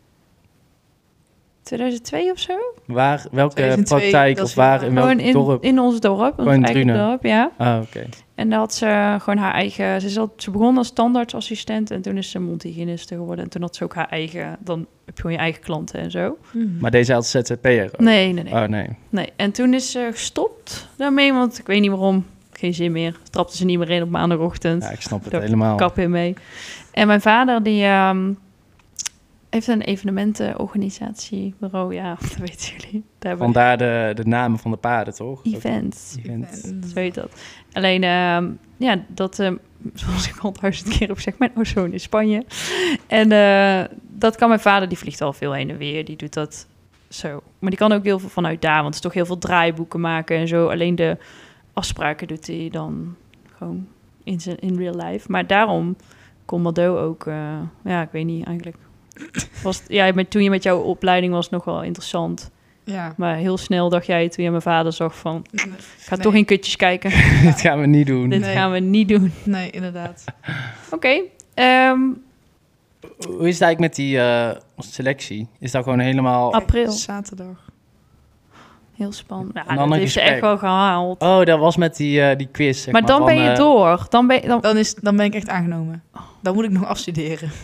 [SPEAKER 2] 2002 of zo?
[SPEAKER 3] Waar, welke
[SPEAKER 1] 2002,
[SPEAKER 3] praktijk
[SPEAKER 1] dat
[SPEAKER 3] of
[SPEAKER 1] is
[SPEAKER 3] waar,
[SPEAKER 1] heel-
[SPEAKER 3] in welk
[SPEAKER 2] eh, Gewoon in,
[SPEAKER 3] dorp?
[SPEAKER 2] in ons dorp. Ons
[SPEAKER 3] Gewoon in
[SPEAKER 2] eigen
[SPEAKER 3] Drunen.
[SPEAKER 2] dorp, ja.
[SPEAKER 3] Ah, oké.
[SPEAKER 2] En daar had ze gewoon haar eigen... Ze, zat, ze begon als standaardassistent en toen is ze mondhygiëniste geworden. En toen had ze ook haar eigen... Dan heb je gewoon je eigen klanten en zo.
[SPEAKER 3] Maar deze had ZZP'er ook?
[SPEAKER 2] Nee, nee, nee.
[SPEAKER 3] Oh, nee.
[SPEAKER 2] Nee, en toen is ze gestopt daarmee, want ik weet niet waarom. Geen zin meer. Trapte ze niet meer in op maandagochtend.
[SPEAKER 3] Ja, ik snap het
[SPEAKER 2] Daar
[SPEAKER 3] helemaal.
[SPEAKER 2] Kap in mee. En mijn vader, die ehm, heeft een evenementenorganisatiebureau. Ja, dat weten jullie. Daar hebben we
[SPEAKER 3] Vandaar de, de namen van de paarden, toch?
[SPEAKER 2] events.
[SPEAKER 3] Ook event.
[SPEAKER 2] Zo heet dat. Alleen, ehm, ja, dat, ehm, zoals ik al duizend keer heb gezegd, mijn ozoon in Spanje. En eh, dat kan mijn vader, die vliegt al veel heen en weer. Die doet dat Zo. Maar die kan ook heel veel vanuit daar, want het is toch heel veel draaiboeken maken en zo. Alleen de afspraken doet hij dan gewoon in, zijn, in real life. Maar daarom kon Mado ook, eh, ja, ik weet niet eigenlijk. Was, het- ja, met, toen je met jouw opleiding was nog wel interessant.
[SPEAKER 1] Ja.
[SPEAKER 2] Maar heel snel dacht jij toen je mijn vader zag van... Ik ga
[SPEAKER 1] Nee.
[SPEAKER 2] toch in kutjes kijken.
[SPEAKER 3] Dit gaan we niet doen.
[SPEAKER 2] Dit
[SPEAKER 1] Nee.
[SPEAKER 2] gaan we niet doen.
[SPEAKER 1] Nee, inderdaad.
[SPEAKER 2] Oké. ehm,
[SPEAKER 3] Hoe is het eigenlijk met die eh, selectie? Is dat gewoon helemaal...
[SPEAKER 2] april.
[SPEAKER 1] Zaterdag.
[SPEAKER 2] Heel spannend. Ja,
[SPEAKER 3] Een
[SPEAKER 2] dat
[SPEAKER 3] ander
[SPEAKER 2] heeft ze
[SPEAKER 3] gesprek.
[SPEAKER 2] echt wel gehaald.
[SPEAKER 3] Oh, dat was met die, eh, die quiz, zeg
[SPEAKER 2] maar dan
[SPEAKER 3] van,
[SPEAKER 2] ben je
[SPEAKER 3] eh,
[SPEAKER 2] door. Dan ben je... Dan...
[SPEAKER 1] Dan, is, dan ben ik echt aangenomen.
[SPEAKER 2] Oh.
[SPEAKER 1] Dan moet ik nog afstuderen.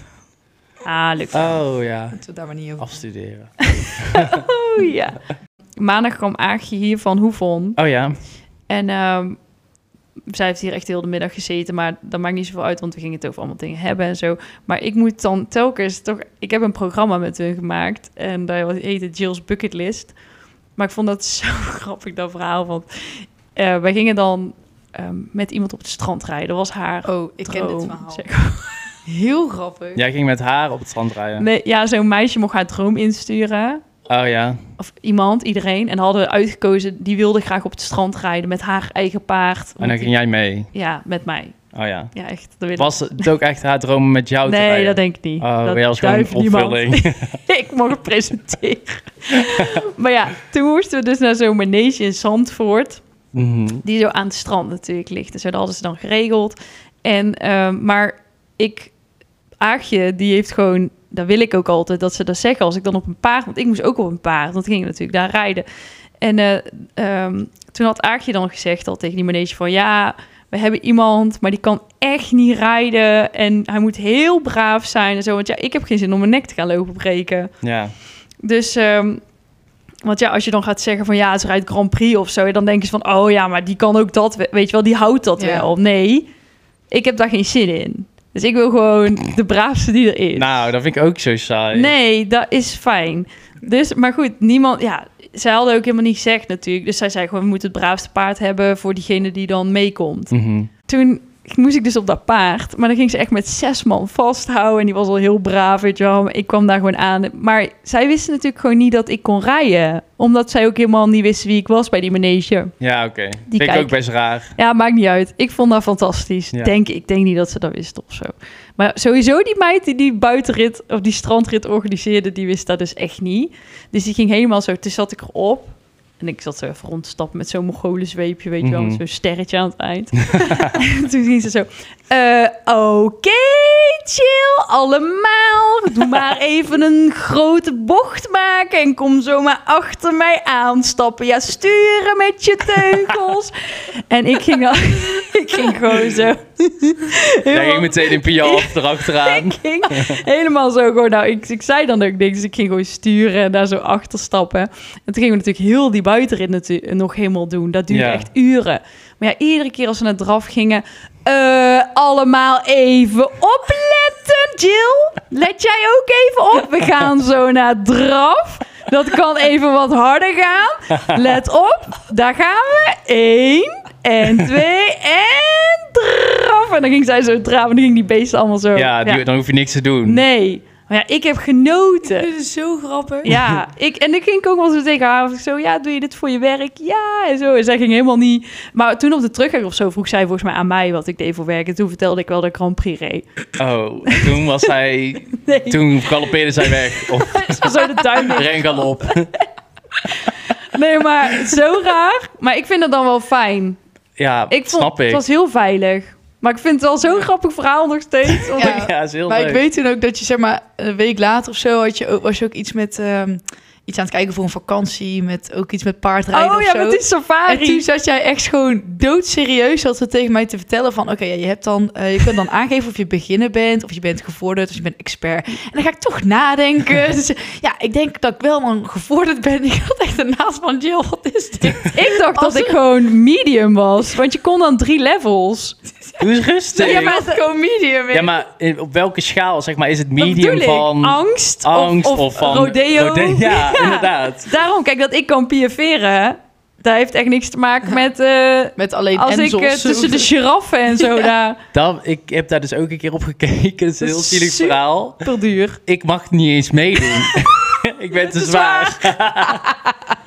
[SPEAKER 2] Ah, lukt.
[SPEAKER 3] Oh ja,
[SPEAKER 1] Laten we het daar maar niet over.
[SPEAKER 3] afstuderen.
[SPEAKER 2] Oh, ja. Maandag kwam Aagje hier van Hoevon.
[SPEAKER 3] Oh ja,
[SPEAKER 2] En ehm, zij heeft hier echt heel de middag gezeten. Maar dat maakt niet zoveel uit, want we gingen het over allemaal dingen hebben en zo. Maar ik moet dan telkens toch... Ik heb een programma met hun gemaakt. En dat heette Jill's Bucket List. Maar ik vond dat zo grappig, dat verhaal. Want eh, wij gingen dan ehm, met iemand op het strand rijden. Dat was haar
[SPEAKER 1] Oh, ik ken dit
[SPEAKER 2] droom,
[SPEAKER 1] verhaal.
[SPEAKER 2] zeg
[SPEAKER 1] Heel grappig.
[SPEAKER 3] jij ging met haar op het strand rijden.
[SPEAKER 2] Nee, ja, zo'n meisje mocht haar droom insturen.
[SPEAKER 3] Oh ja,
[SPEAKER 2] Of iemand, iedereen. En hadden we uitgekozen, die wilde graag op het strand rijden met haar eigen paard.
[SPEAKER 3] en dan ging jij mee.
[SPEAKER 2] Ja, met mij.
[SPEAKER 3] Oh ja.
[SPEAKER 2] Ja, echt. Dat wil ik.
[SPEAKER 3] Was het ook echt haar droom om met jou te
[SPEAKER 2] nee,
[SPEAKER 3] rijden?
[SPEAKER 2] dat denk ik niet.
[SPEAKER 3] Oh,
[SPEAKER 2] dat
[SPEAKER 3] jij was gewoon een
[SPEAKER 2] duift niemand.
[SPEAKER 3] opvulling.
[SPEAKER 2] ik mocht het presenteren. maar ja, toen moesten we dus naar zo'n manege in Zandvoort.
[SPEAKER 3] Mhm.
[SPEAKER 2] die zo aan het strand natuurlijk ligt. Dus dat hadden ze dan geregeld. En, ehm, maar ik, Aagje, die heeft gewoon, dat wil ik ook altijd, dat ze dat zeggen als ik dan op een paard, want ik moest ook op een paard, want ik ging natuurlijk daar rijden. En eh, ehm, toen had Aagje dan gezegd al tegen die manege van, ja, we hebben iemand, maar die kan echt niet rijden en hij moet heel braaf zijn en zo, want ja, ik heb geen zin om mijn nek te gaan lopen breken.
[SPEAKER 3] Ja,
[SPEAKER 2] Dus, ehm, want ja, als je dan gaat zeggen van ja, ze rijdt Grand Prix of zo, dan denk je van oh ja, maar die kan ook dat, we- weet je wel, die houdt dat
[SPEAKER 1] Ja.
[SPEAKER 2] wel. Nee, ik heb daar geen zin in. Dus ik wil gewoon de braafste die er is.
[SPEAKER 3] nou, dat vind ik ook zo saai.
[SPEAKER 2] nee, dat is fijn. Dus, maar goed, niemand, ja, zij hadden ook helemaal niet gezegd natuurlijk. Dus zij zei gewoon, we moeten het braafste paard hebben voor diegene die dan meekomt
[SPEAKER 3] Mhm.
[SPEAKER 2] toen moest ik dus op dat paard. Maar dan ging ze echt met zes man vasthouden. En die was al heel braaf, weet je wel. Maar Ik kwam daar gewoon aan. Maar zij wisten natuurlijk gewoon niet dat ik kon rijden. Omdat zij ook helemaal niet wisten wie ik was bij die manege.
[SPEAKER 3] Ja, oké. Vind ik
[SPEAKER 2] kijk-
[SPEAKER 3] ook best raar.
[SPEAKER 2] Ja, maakt niet uit. Ik vond dat fantastisch.
[SPEAKER 3] Ja.
[SPEAKER 2] Denk, ik. ik denk niet dat ze dat wisten of zo. Maar sowieso die meid die die buitenrit of die strandrit organiseerde... die wist dat dus echt niet. Dus die ging helemaal zo... Toen zat ik erop. En ik zat zo even rond te stappen met zo'n Mongolen-zweepje, weet je wel.
[SPEAKER 3] Mhm.
[SPEAKER 2] met Zo'n sterretje aan het eind. en toen ging ze zo... eh, Oké, chill, allemaal. Doe maar even een grote bocht maken... en kom zomaar achter mij aanstappen. Ja, sturen met je teugels. en ik ging, al, ik ging gewoon zo...
[SPEAKER 3] Jij
[SPEAKER 2] helemaal-
[SPEAKER 3] ging meteen in piaf erachteraan.
[SPEAKER 2] ik ging helemaal zo gewoon, nou, ik, ik zei dan ook niks. Dus ik ging gewoon sturen en daar zo achter stappen. En toen gingen we natuurlijk heel die buitenrit natu- nog helemaal doen. Dat duurde
[SPEAKER 3] Ja.
[SPEAKER 2] echt uren. Maar ja, iedere keer als we naar het draf gingen... eh, allemaal even opletten, Jill. Let jij ook even op. We gaan zo naar het draf. Dat kan even wat harder gaan. Let op, daar gaan we. Eén en twee en draf. En dan ging zij zo draven. En dan ging die beesten allemaal zo.
[SPEAKER 3] Ja, die- dan hoef je niks te doen.
[SPEAKER 2] Nee. Maar ja, ik heb genoten.
[SPEAKER 1] Dit is zo grappig.
[SPEAKER 2] Ja, ik, en ik ging ik ook wel zo tegen haar. Ik zo, ja, doe je dit voor je werk? Ja, en zo. En zij ging helemaal niet... Maar toen op de terugweg of zo vroeg zij volgens mij aan mij wat ik deed voor werk. En toen vertelde ik wel dat ik Grand Prix reed.
[SPEAKER 3] Oh, toen was hij...
[SPEAKER 2] Nee,
[SPEAKER 3] Toen galoppeerde zij weg. Of
[SPEAKER 2] zo de duim in.
[SPEAKER 3] ren galop.
[SPEAKER 2] Nee, maar zo raar. Maar ik vind dat dan wel fijn.
[SPEAKER 3] Ja,
[SPEAKER 2] Ik vond,
[SPEAKER 3] snap ik.
[SPEAKER 2] Het was heel veilig. Maar ik vind het wel zo'n grappig verhaal nog steeds. omdat ik-
[SPEAKER 3] Ja, is heel
[SPEAKER 1] Maar
[SPEAKER 3] leuk.
[SPEAKER 1] ik weet toen ook dat je, zeg maar, een week later of zo had je ook, was je ook iets met ehm, iets aan het kijken voor een vakantie. Met ook iets met paardrijden
[SPEAKER 2] Oh
[SPEAKER 1] of
[SPEAKER 2] ja,
[SPEAKER 1] zo.
[SPEAKER 2] met die
[SPEAKER 1] En toen
[SPEAKER 2] safari.
[SPEAKER 1] zat jij echt gewoon doodserieus zat ze tegen mij te vertellen van... oké, ja, je, hebt dan, eh, je kunt dan aangeven of je beginner bent... of je bent gevorderd, of je bent expert. En dan ga ik toch nadenken. Dus, ja, ik denk dat ik wel een gevorderd ben. Ik had echt een naast van Jill, wat is dit?
[SPEAKER 2] Ik dacht
[SPEAKER 1] Als
[SPEAKER 2] dat ik
[SPEAKER 1] er-
[SPEAKER 2] gewoon medium was. Want je kon dan drie levels.
[SPEAKER 3] Doe eens rustig.
[SPEAKER 1] Ja, maar het is gewoon medium.
[SPEAKER 3] Ja, maar in- op welke schaal, zeg maar, is het
[SPEAKER 2] Dat bedoel
[SPEAKER 3] medium
[SPEAKER 2] ik.
[SPEAKER 3] van
[SPEAKER 2] angst, of-
[SPEAKER 3] angst
[SPEAKER 2] of,
[SPEAKER 3] of, van
[SPEAKER 2] rodeo.
[SPEAKER 3] rode- Ja, inderdaad.
[SPEAKER 2] Daarom, kijk, dat ik kan piaveren, dat heeft echt niks te maken met eh,
[SPEAKER 1] Met alleen
[SPEAKER 2] als ik
[SPEAKER 1] enzels.
[SPEAKER 2] eh, tussen de giraffen en zo daar
[SPEAKER 3] Dat, ik heb daar dus ook een keer op gekeken. Dat is een
[SPEAKER 2] Dat
[SPEAKER 3] heel
[SPEAKER 2] is
[SPEAKER 3] zielig
[SPEAKER 2] super-
[SPEAKER 3] verhaal.
[SPEAKER 2] per duur.
[SPEAKER 3] Ik mag niet eens meedoen. Ik ben te zwaar.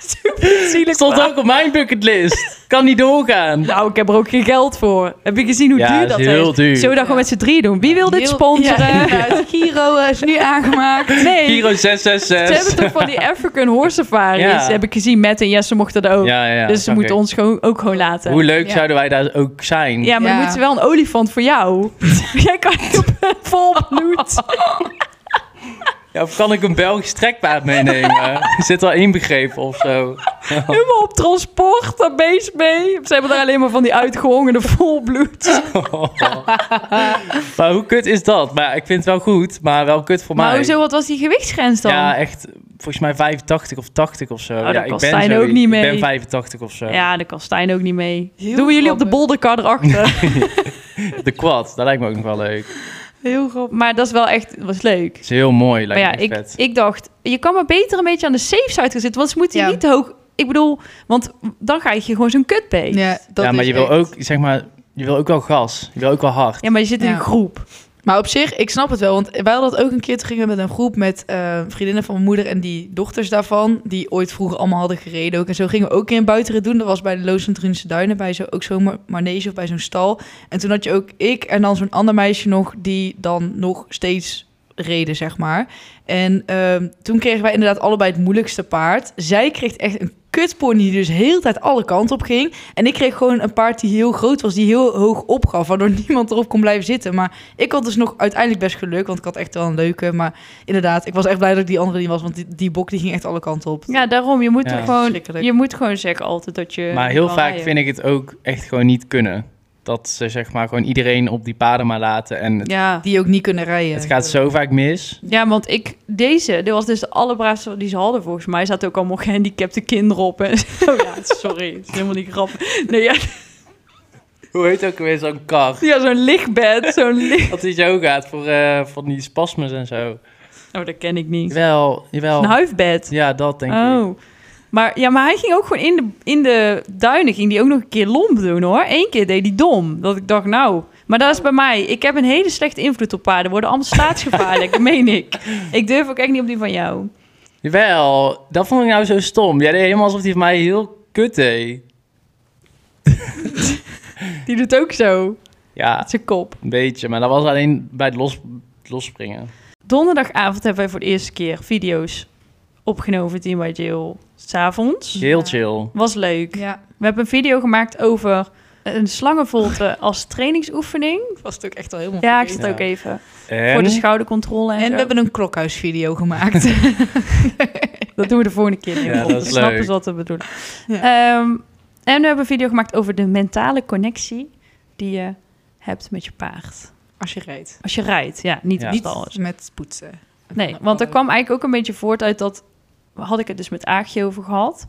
[SPEAKER 2] Super zielig.
[SPEAKER 3] Stond
[SPEAKER 2] verhaal.
[SPEAKER 3] ook op mijn bucketlist. Kan niet doorgaan.
[SPEAKER 2] Nou, ik heb er ook geen geld voor. Heb je gezien hoe
[SPEAKER 3] Ja,
[SPEAKER 2] duur
[SPEAKER 3] is
[SPEAKER 2] dat is?
[SPEAKER 3] heel duur.
[SPEAKER 2] Zullen we dat gewoon met z'n drie doen? Wie wil dit
[SPEAKER 1] Heel-
[SPEAKER 2] sponsoren?
[SPEAKER 1] Ja, inderdaad. Giro eh, is nu aangemaakt.
[SPEAKER 2] Nee.
[SPEAKER 3] Giro
[SPEAKER 2] Ze hebben
[SPEAKER 3] 666.
[SPEAKER 2] toch van die African Horse Safaris,
[SPEAKER 3] Ja.
[SPEAKER 2] heb ik gezien. Matt en Jesse mochten dat ook.
[SPEAKER 3] Ja, ja, ja,
[SPEAKER 2] dus ze
[SPEAKER 3] oké.
[SPEAKER 2] moeten ons gewoon, ook gewoon laten.
[SPEAKER 3] Hoe leuk
[SPEAKER 1] Ja.
[SPEAKER 3] zouden wij daar ook zijn?
[SPEAKER 2] Ja, maar
[SPEAKER 1] Ja.
[SPEAKER 2] dan moeten wel een olifant voor jou. Jij kan niet op vol bloed.
[SPEAKER 3] Ja, of kan ik een Belgisch trekpaard meenemen? Zit al inbegrepen of zo?
[SPEAKER 2] Helemaal op transport, daar beest mee. Ze hebben daar alleen maar van die uitgehongene volbloed.
[SPEAKER 3] Maar hoe kut is dat? Maar ja, ik vind het wel goed, maar wel kut voor
[SPEAKER 2] Maar
[SPEAKER 3] mij.
[SPEAKER 2] hoezo, wat was die gewichtsgrens dan? Oh,
[SPEAKER 3] Ja, echt volgens mij 85 of 80 of zo.
[SPEAKER 2] dat
[SPEAKER 3] ja, ik
[SPEAKER 2] kost
[SPEAKER 3] ben
[SPEAKER 2] Stijn ook niet
[SPEAKER 3] Ik
[SPEAKER 2] mee.
[SPEAKER 3] ben 85 of zo.
[SPEAKER 2] Ja, daar kan Stijn ook niet mee.
[SPEAKER 1] Heel
[SPEAKER 2] Doen we jullie op de
[SPEAKER 1] grappig.
[SPEAKER 2] bolderkar erachter.
[SPEAKER 3] De quad, dat lijkt me ook nog wel leuk. Het
[SPEAKER 2] Heel grappig. Maar dat is wel echt, was leuk.
[SPEAKER 3] is heel mooi,
[SPEAKER 2] Maar
[SPEAKER 3] lijkt
[SPEAKER 2] ja,
[SPEAKER 3] me echt
[SPEAKER 2] ik,
[SPEAKER 3] vet.
[SPEAKER 2] ik dacht, je kan maar beter een beetje aan de safe side gaan zitten. Want ze moeten je
[SPEAKER 1] Ja.
[SPEAKER 2] niet te hoog... Ik bedoel, want dan ga je gewoon zo'n kutbeest.
[SPEAKER 1] Ja, dat
[SPEAKER 3] ja, maar
[SPEAKER 1] is
[SPEAKER 3] je wil
[SPEAKER 1] echt.
[SPEAKER 3] ook, zeg maar, je wil ook wel gas. Je wil ook wel hard.
[SPEAKER 2] Ja, maar je zit in
[SPEAKER 1] Ja.
[SPEAKER 2] een groep.
[SPEAKER 1] Maar op zich, ik snap het wel. Want wij hadden dat ook een keer. Toen gingen we met een groep met eh, vriendinnen van mijn moeder en die dochters daarvan. Die ooit vroeger allemaal hadden gereden ook. En zo gingen we ook een keer een buitenrit doen. Dat was bij de Loosendrunse Duinen. Bij zo, ook zo'n mar- manege of bij zo'n stal. En toen had je ook ik en dan zo'n ander meisje nog. Die dan nog steeds reden, zeg maar. En ehm, toen kregen wij inderdaad allebei het moeilijkste paard. Zij kreeg echt een kutpony die dus heel de tijd alle kanten op ging. En ik kreeg gewoon een paard die heel groot was, die heel hoog opgaf, waardoor niemand erop kon blijven zitten. Maar ik had dus nog uiteindelijk best geluk, want ik had echt wel een leuke. Maar inderdaad, ik was echt blij dat ik die andere niet was, want die, die bok die ging echt alle kanten op.
[SPEAKER 2] Ja, daarom. Je moet,
[SPEAKER 3] Ja.
[SPEAKER 2] er gewoon,
[SPEAKER 1] Verschrikkelijk.
[SPEAKER 2] je moet gewoon zeggen altijd dat je...
[SPEAKER 3] Maar heel vaak vind ik het ook echt gewoon niet kunnen. Dat ze zeg maar gewoon iedereen op die paden maar laten. En het,
[SPEAKER 2] Ja.
[SPEAKER 1] Die ook niet kunnen rijden.
[SPEAKER 3] het gaat zo vaak mis.
[SPEAKER 2] ja, want ik... Deze, dit was dus de allerbraafste die ze hadden volgens mij. Er zaten ook allemaal gehandicapte kinderen op. En oh ja, sorry. Het is helemaal niet grappig. Nee, ja,
[SPEAKER 3] Hoe heet ook weer zo'n kar?
[SPEAKER 2] ja zo'n lichtbed. Zo'n licht...
[SPEAKER 3] Dat is zo gaat voor eh, van die spasmes en zo.
[SPEAKER 2] Oh, dat ken ik niet.
[SPEAKER 3] Jawel,
[SPEAKER 2] Een
[SPEAKER 3] jawel.
[SPEAKER 2] huifbed.
[SPEAKER 3] Ja, dat denk ik.
[SPEAKER 2] Oh. Maar, ja, maar hij ging ook gewoon in de, in de duinen, ging die ook nog een keer lomp doen hoor. Eén keer deed hij dom, dat ik dacht nou... Maar dat is bij mij. Ik heb een hele slechte invloed op paarden. Worden allemaal staatsgevaarlijk, dat meen ik. Ik durf ook echt niet op die van jou.
[SPEAKER 3] Jawel, dat vond ik nou zo stom. Jij deed helemaal alsof die van mij heel kut deed.
[SPEAKER 2] Die doet ook zo.
[SPEAKER 3] Ja,
[SPEAKER 2] Met zijn kop.
[SPEAKER 3] een beetje. Maar dat was alleen bij het los, losspringen.
[SPEAKER 2] Donderdagavond hebben wij voor de eerste keer video's opgenomen voor Team by Jill. S'avonds.
[SPEAKER 3] Heel chill.
[SPEAKER 2] Was leuk.
[SPEAKER 1] Ja,
[SPEAKER 2] We hebben een video gemaakt over een slangenvolte als trainingsoefening.
[SPEAKER 1] dat was het ook echt al helemaal
[SPEAKER 2] Ja, ik
[SPEAKER 1] vergeten.
[SPEAKER 2] zit ook
[SPEAKER 3] Ja.
[SPEAKER 2] even.
[SPEAKER 3] En?
[SPEAKER 2] Voor de schoudercontrole en,
[SPEAKER 1] En we
[SPEAKER 2] zo.
[SPEAKER 1] hebben een klokhuisvideo gemaakt.
[SPEAKER 2] Dat doen we de volgende keer.
[SPEAKER 3] Ja, dat is
[SPEAKER 2] Snappen
[SPEAKER 3] leuk.
[SPEAKER 2] ze dus wat we bedoelen.
[SPEAKER 1] Ja.
[SPEAKER 2] Ehm, en we hebben een video gemaakt over de mentale connectie die je hebt met je paard.
[SPEAKER 1] Als je rijdt.
[SPEAKER 2] Als je rijdt, ja. Niet
[SPEAKER 3] Ja.
[SPEAKER 2] op
[SPEAKER 1] Niet
[SPEAKER 2] stal.
[SPEAKER 1] met poetsen. nou,
[SPEAKER 2] Nee, want er kwam eigenlijk ook een beetje voort uit dat... had ik het dus met Aagje over gehad.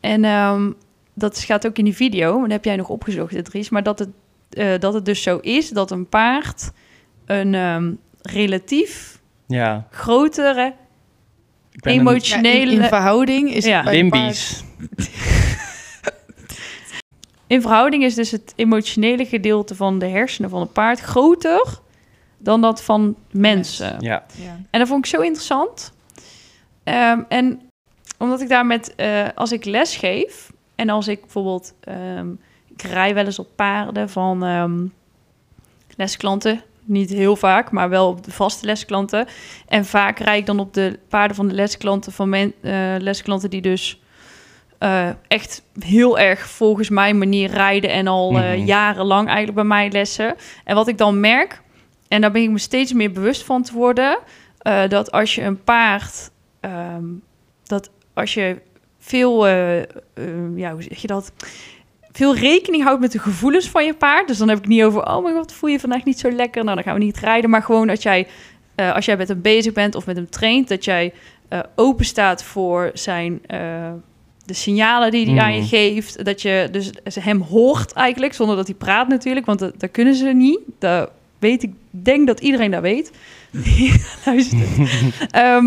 [SPEAKER 2] En ehm, dat gaat ook in die video. Dat heb jij nog opgezocht, hè, Dries. Maar dat het, eh, dat het dus zo is dat een paard... een ehm, relatief
[SPEAKER 3] Ja.
[SPEAKER 2] grotere...
[SPEAKER 3] Ik ben een
[SPEAKER 1] Ja, in-
[SPEAKER 2] emotionele...
[SPEAKER 1] in, verhouding is
[SPEAKER 2] Ja.
[SPEAKER 1] het bij de paard-
[SPEAKER 3] Limbies.
[SPEAKER 2] In verhouding is dus het emotionele gedeelte van de hersenen van een paard groter dan dat van mensen.
[SPEAKER 3] Ja.
[SPEAKER 1] Ja.
[SPEAKER 2] En dat vond ik zo interessant. Ehm, en omdat ik daar met, eh, als ik les geef en als ik bijvoorbeeld, ehm, ik rij wel eens op paarden van ehm, lesklanten. Niet heel vaak, maar wel op de vaste lesklanten. En vaak rijd ik dan op de paarden van de lesklanten van men, eh, lesklanten die dus eh, echt heel erg volgens mijn manier rijden en al eh,
[SPEAKER 3] Mhm.
[SPEAKER 2] jarenlang eigenlijk bij mij lessen. En wat ik dan merk, en daar ben ik me steeds meer bewust van te worden, eh, dat als je een paard, ehm, dat als je veel, eh, eh, ja, hoe zeg je dat? Veel rekening houdt met de gevoelens van je paard. Dus dan heb ik het niet over, oh mijn god, voel je vandaag niet zo lekker. Nou, dan gaan we niet rijden. Maar gewoon dat jij, eh, als jij met hem bezig bent of met hem traint, dat jij eh, open openstaat voor zijn, eh, de signalen die hij
[SPEAKER 3] Mm.
[SPEAKER 2] aan je geeft. Dat je dus hem hoort eigenlijk, zonder dat hij praat natuurlijk. Want dat, dat kunnen ze niet. Dat weet ik, denk dat iedereen dat weet. Luister. Ehm,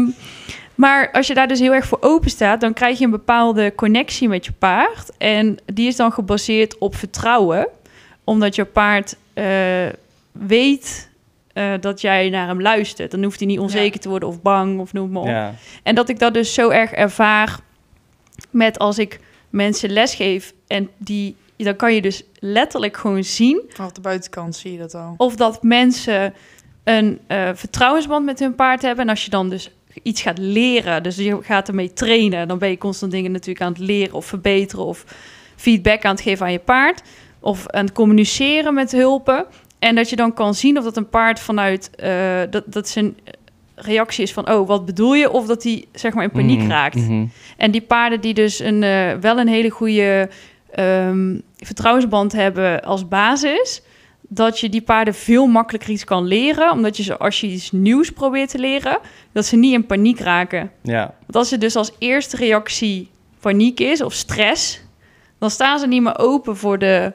[SPEAKER 2] maar als je daar dus heel erg voor open staat, dan krijg je een bepaalde connectie met je paard. En die is dan gebaseerd op vertrouwen, omdat je paard eh, weet eh, dat jij naar hem luistert. Dan hoeft hij niet onzeker
[SPEAKER 1] Ja.
[SPEAKER 2] te worden of bang of noem maar op.
[SPEAKER 3] Ja.
[SPEAKER 2] En dat ik dat dus zo erg ervaar met als ik mensen lesgeef en die, dan kan je dus letterlijk gewoon zien
[SPEAKER 1] Vanaf de buitenkant zie je dat al.
[SPEAKER 2] of dat mensen een eh, vertrouwensband met hun paard hebben. En als je dan dus iets gaat leren, dus je gaat ermee trainen, dan ben je constant dingen natuurlijk aan het leren of verbeteren of feedback aan het geven aan je paard of aan het communiceren met hulpen. En dat je dan kan zien of dat een paard vanuit eh, dat, dat zijn reactie is van oh wat bedoel je of dat hij zeg maar in paniek
[SPEAKER 3] Mhm,
[SPEAKER 2] raakt.
[SPEAKER 3] mhm.
[SPEAKER 2] En die paarden die dus een, eh, wel een hele goede ehm, vertrouwensband hebben als basis, dat je die paarden veel makkelijker iets kan leren, omdat je ze als je iets nieuws probeert te leren, dat ze niet in paniek raken.
[SPEAKER 3] Ja,
[SPEAKER 2] Want als er dus als eerste reactie paniek is of stress, dan staan ze niet meer open voor de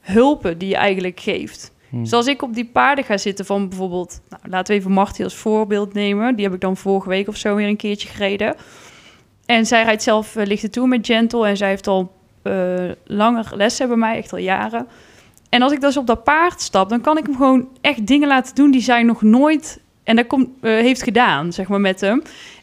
[SPEAKER 2] hulpen die je eigenlijk geeft.
[SPEAKER 3] Hmm.
[SPEAKER 2] Dus als ik op die paarden ga zitten van bijvoorbeeld, nou, laten we even Marty als voorbeeld nemen. Die heb ik dan vorige week of zo weer een keertje gereden. En zij rijdt zelf eh, lichte lichte toe met Gentle en zij heeft al eh, langer lessen bij mij, echt al jaren. En als ik dus op dat paard stap, dan kan ik hem gewoon echt dingen laten doen die zij nog nooit en dat komt, eh, heeft gedaan, zeg maar, met hem.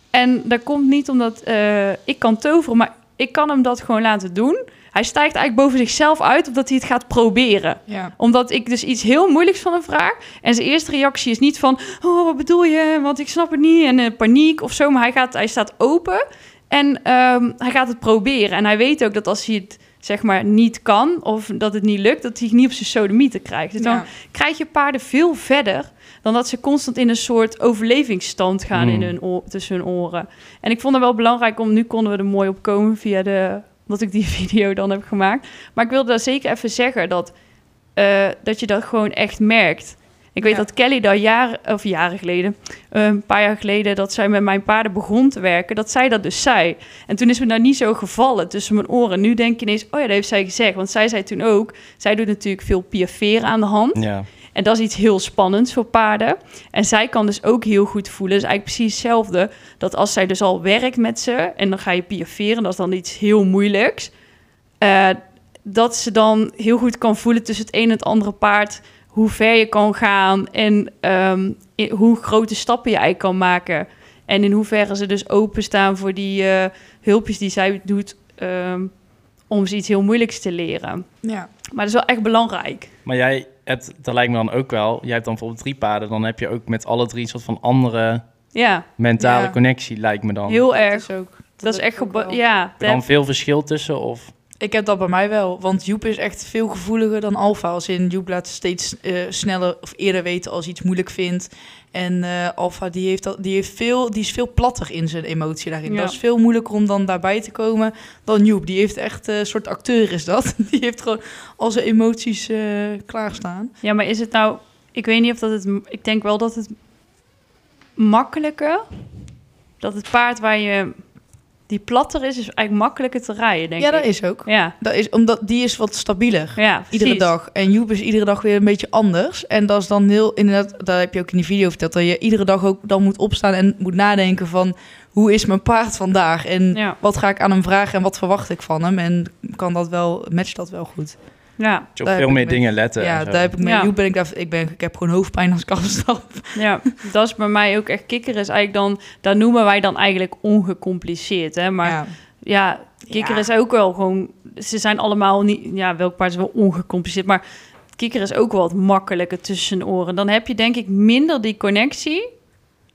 [SPEAKER 2] En dat komt niet omdat eh, ik kan toveren, maar ik kan hem dat gewoon laten doen. Hij stijgt eigenlijk boven zichzelf uit, omdat hij het gaat proberen
[SPEAKER 1] Ja.
[SPEAKER 2] omdat ik dus iets heel moeilijks van hem vraag. En zijn eerste reactie is niet van... Oh, wat bedoel je? Want ik snap het niet. En eh, paniek of zo. Maar hij, gaat, hij staat open. En ehm, hij gaat het proberen. En hij weet ook dat als hij het zeg maar niet kan... of dat het niet lukt, dat hij het niet op zijn sodomieten krijgt. Dus dan
[SPEAKER 1] Ja.
[SPEAKER 2] krijg je paarden veel verder... dan dat ze constant in een soort overlevingsstand gaan
[SPEAKER 3] Mm.
[SPEAKER 2] in hun oor- tussen hun oren. En ik vond het wel belangrijk om... nu konden we er mooi op komen via de... omdat ik die video dan heb gemaakt. Maar ik wilde daar zeker even zeggen dat eh, dat je dat gewoon echt merkt. Ik weet
[SPEAKER 1] Ja.
[SPEAKER 2] dat Kelly daar jaren, of jaren geleden, eh, een paar jaar geleden, dat zij met mijn paarden begon te werken, dat zij dat dus zei. En toen is me daar niet zo gevallen tussen mijn oren. Nu denk je ineens, oh ja, dat heeft zij gezegd. Want zij zei toen ook, zij doet natuurlijk veel piaferen aan de hand.
[SPEAKER 3] ja.
[SPEAKER 2] En dat is iets heel spannends voor paarden. En zij kan dus ook heel goed voelen. Dus eigenlijk precies hetzelfde. Dat als zij dus al werkt met ze. En dan ga je piaferen. Dat is dan iets heel moeilijks. eh, dat ze dan heel goed kan voelen tussen het een en het andere paard. Hoe ver je kan gaan. En ehm, in- hoe grote stappen je eigenlijk kan maken. En in hoeverre ze dus openstaan voor die eh, hulpjes die zij doet. ehm, om ze iets heel moeilijks te leren.
[SPEAKER 1] Ja.
[SPEAKER 2] Maar dat is wel echt belangrijk.
[SPEAKER 3] Maar jij hebt, dat lijkt me dan ook wel, jij hebt dan bijvoorbeeld drie paarden, dan heb je ook met alle drie een soort van andere
[SPEAKER 2] Ja,
[SPEAKER 3] mentale
[SPEAKER 1] Ja.
[SPEAKER 3] connectie, lijkt me dan.
[SPEAKER 2] heel erg.
[SPEAKER 1] Dat is ook.
[SPEAKER 2] Dat is
[SPEAKER 1] heb
[SPEAKER 2] echt
[SPEAKER 1] ik ook
[SPEAKER 2] gebo-
[SPEAKER 1] wel.
[SPEAKER 2] ja.
[SPEAKER 3] Er dan veel verschil tussen of...
[SPEAKER 1] Ik heb dat bij mij wel, want Joep is echt veel gevoeliger dan Alfa. Als in Joep laat steeds eh, sneller of eerder weten als hij iets moeilijk vindt. En eh Alfa die, heeft dat, die, heeft veel, die is veel platter in zijn emotie daarin.
[SPEAKER 2] Ja.
[SPEAKER 1] Dat is veel moeilijker om dan daarbij te komen dan Joep. Die heeft echt eh, een soort acteur is dat. Die heeft gewoon al zijn emoties eh, klaarstaan.
[SPEAKER 2] Ja, maar is het nou... Ik weet niet of dat het... Ik denk wel dat het makkelijker... Dat het paard waar je... Die platter is, is eigenlijk makkelijker te rijden, denk
[SPEAKER 1] ja,
[SPEAKER 2] ik.
[SPEAKER 1] dat is ook.
[SPEAKER 2] Ja,
[SPEAKER 1] Dat is, omdat die is wat stabieler.
[SPEAKER 2] ja precies.
[SPEAKER 1] Iedere dag. En Joep is iedere dag weer een beetje anders. En dat is dan heel, inderdaad, daar heb je ook in die video verteld, dat je iedere dag ook dan moet opstaan en moet nadenken van, hoe is mijn paard vandaag? En
[SPEAKER 2] Ja.
[SPEAKER 1] wat ga ik aan hem vragen en wat verwacht ik van hem? En kan dat wel, matcht dat wel goed?
[SPEAKER 2] Ja,
[SPEAKER 3] Dat je op
[SPEAKER 1] Daar
[SPEAKER 3] veel
[SPEAKER 1] heb
[SPEAKER 3] meer
[SPEAKER 1] ik mee.
[SPEAKER 3] dingen letten.
[SPEAKER 1] ja,
[SPEAKER 3] en zo.
[SPEAKER 1] daar heb ik mee.
[SPEAKER 2] Ja.
[SPEAKER 1] Joep ben ik, daar, ik, ben, ik heb gewoon hoofdpijn als ik afstap.
[SPEAKER 2] ja, dat is bij mij ook echt kikker is eigenlijk dan... Dat noemen wij dan eigenlijk ongecompliceerd, hè. Maar ja,
[SPEAKER 1] ja.
[SPEAKER 2] kikker
[SPEAKER 1] Ja.
[SPEAKER 2] is ook wel gewoon... Ze zijn allemaal niet... Ja, welk paard is wel ongecompliceerd, maar... Kikker is ook wel wat makkelijker tussen de oren. Dan heb je denk ik minder die connectie.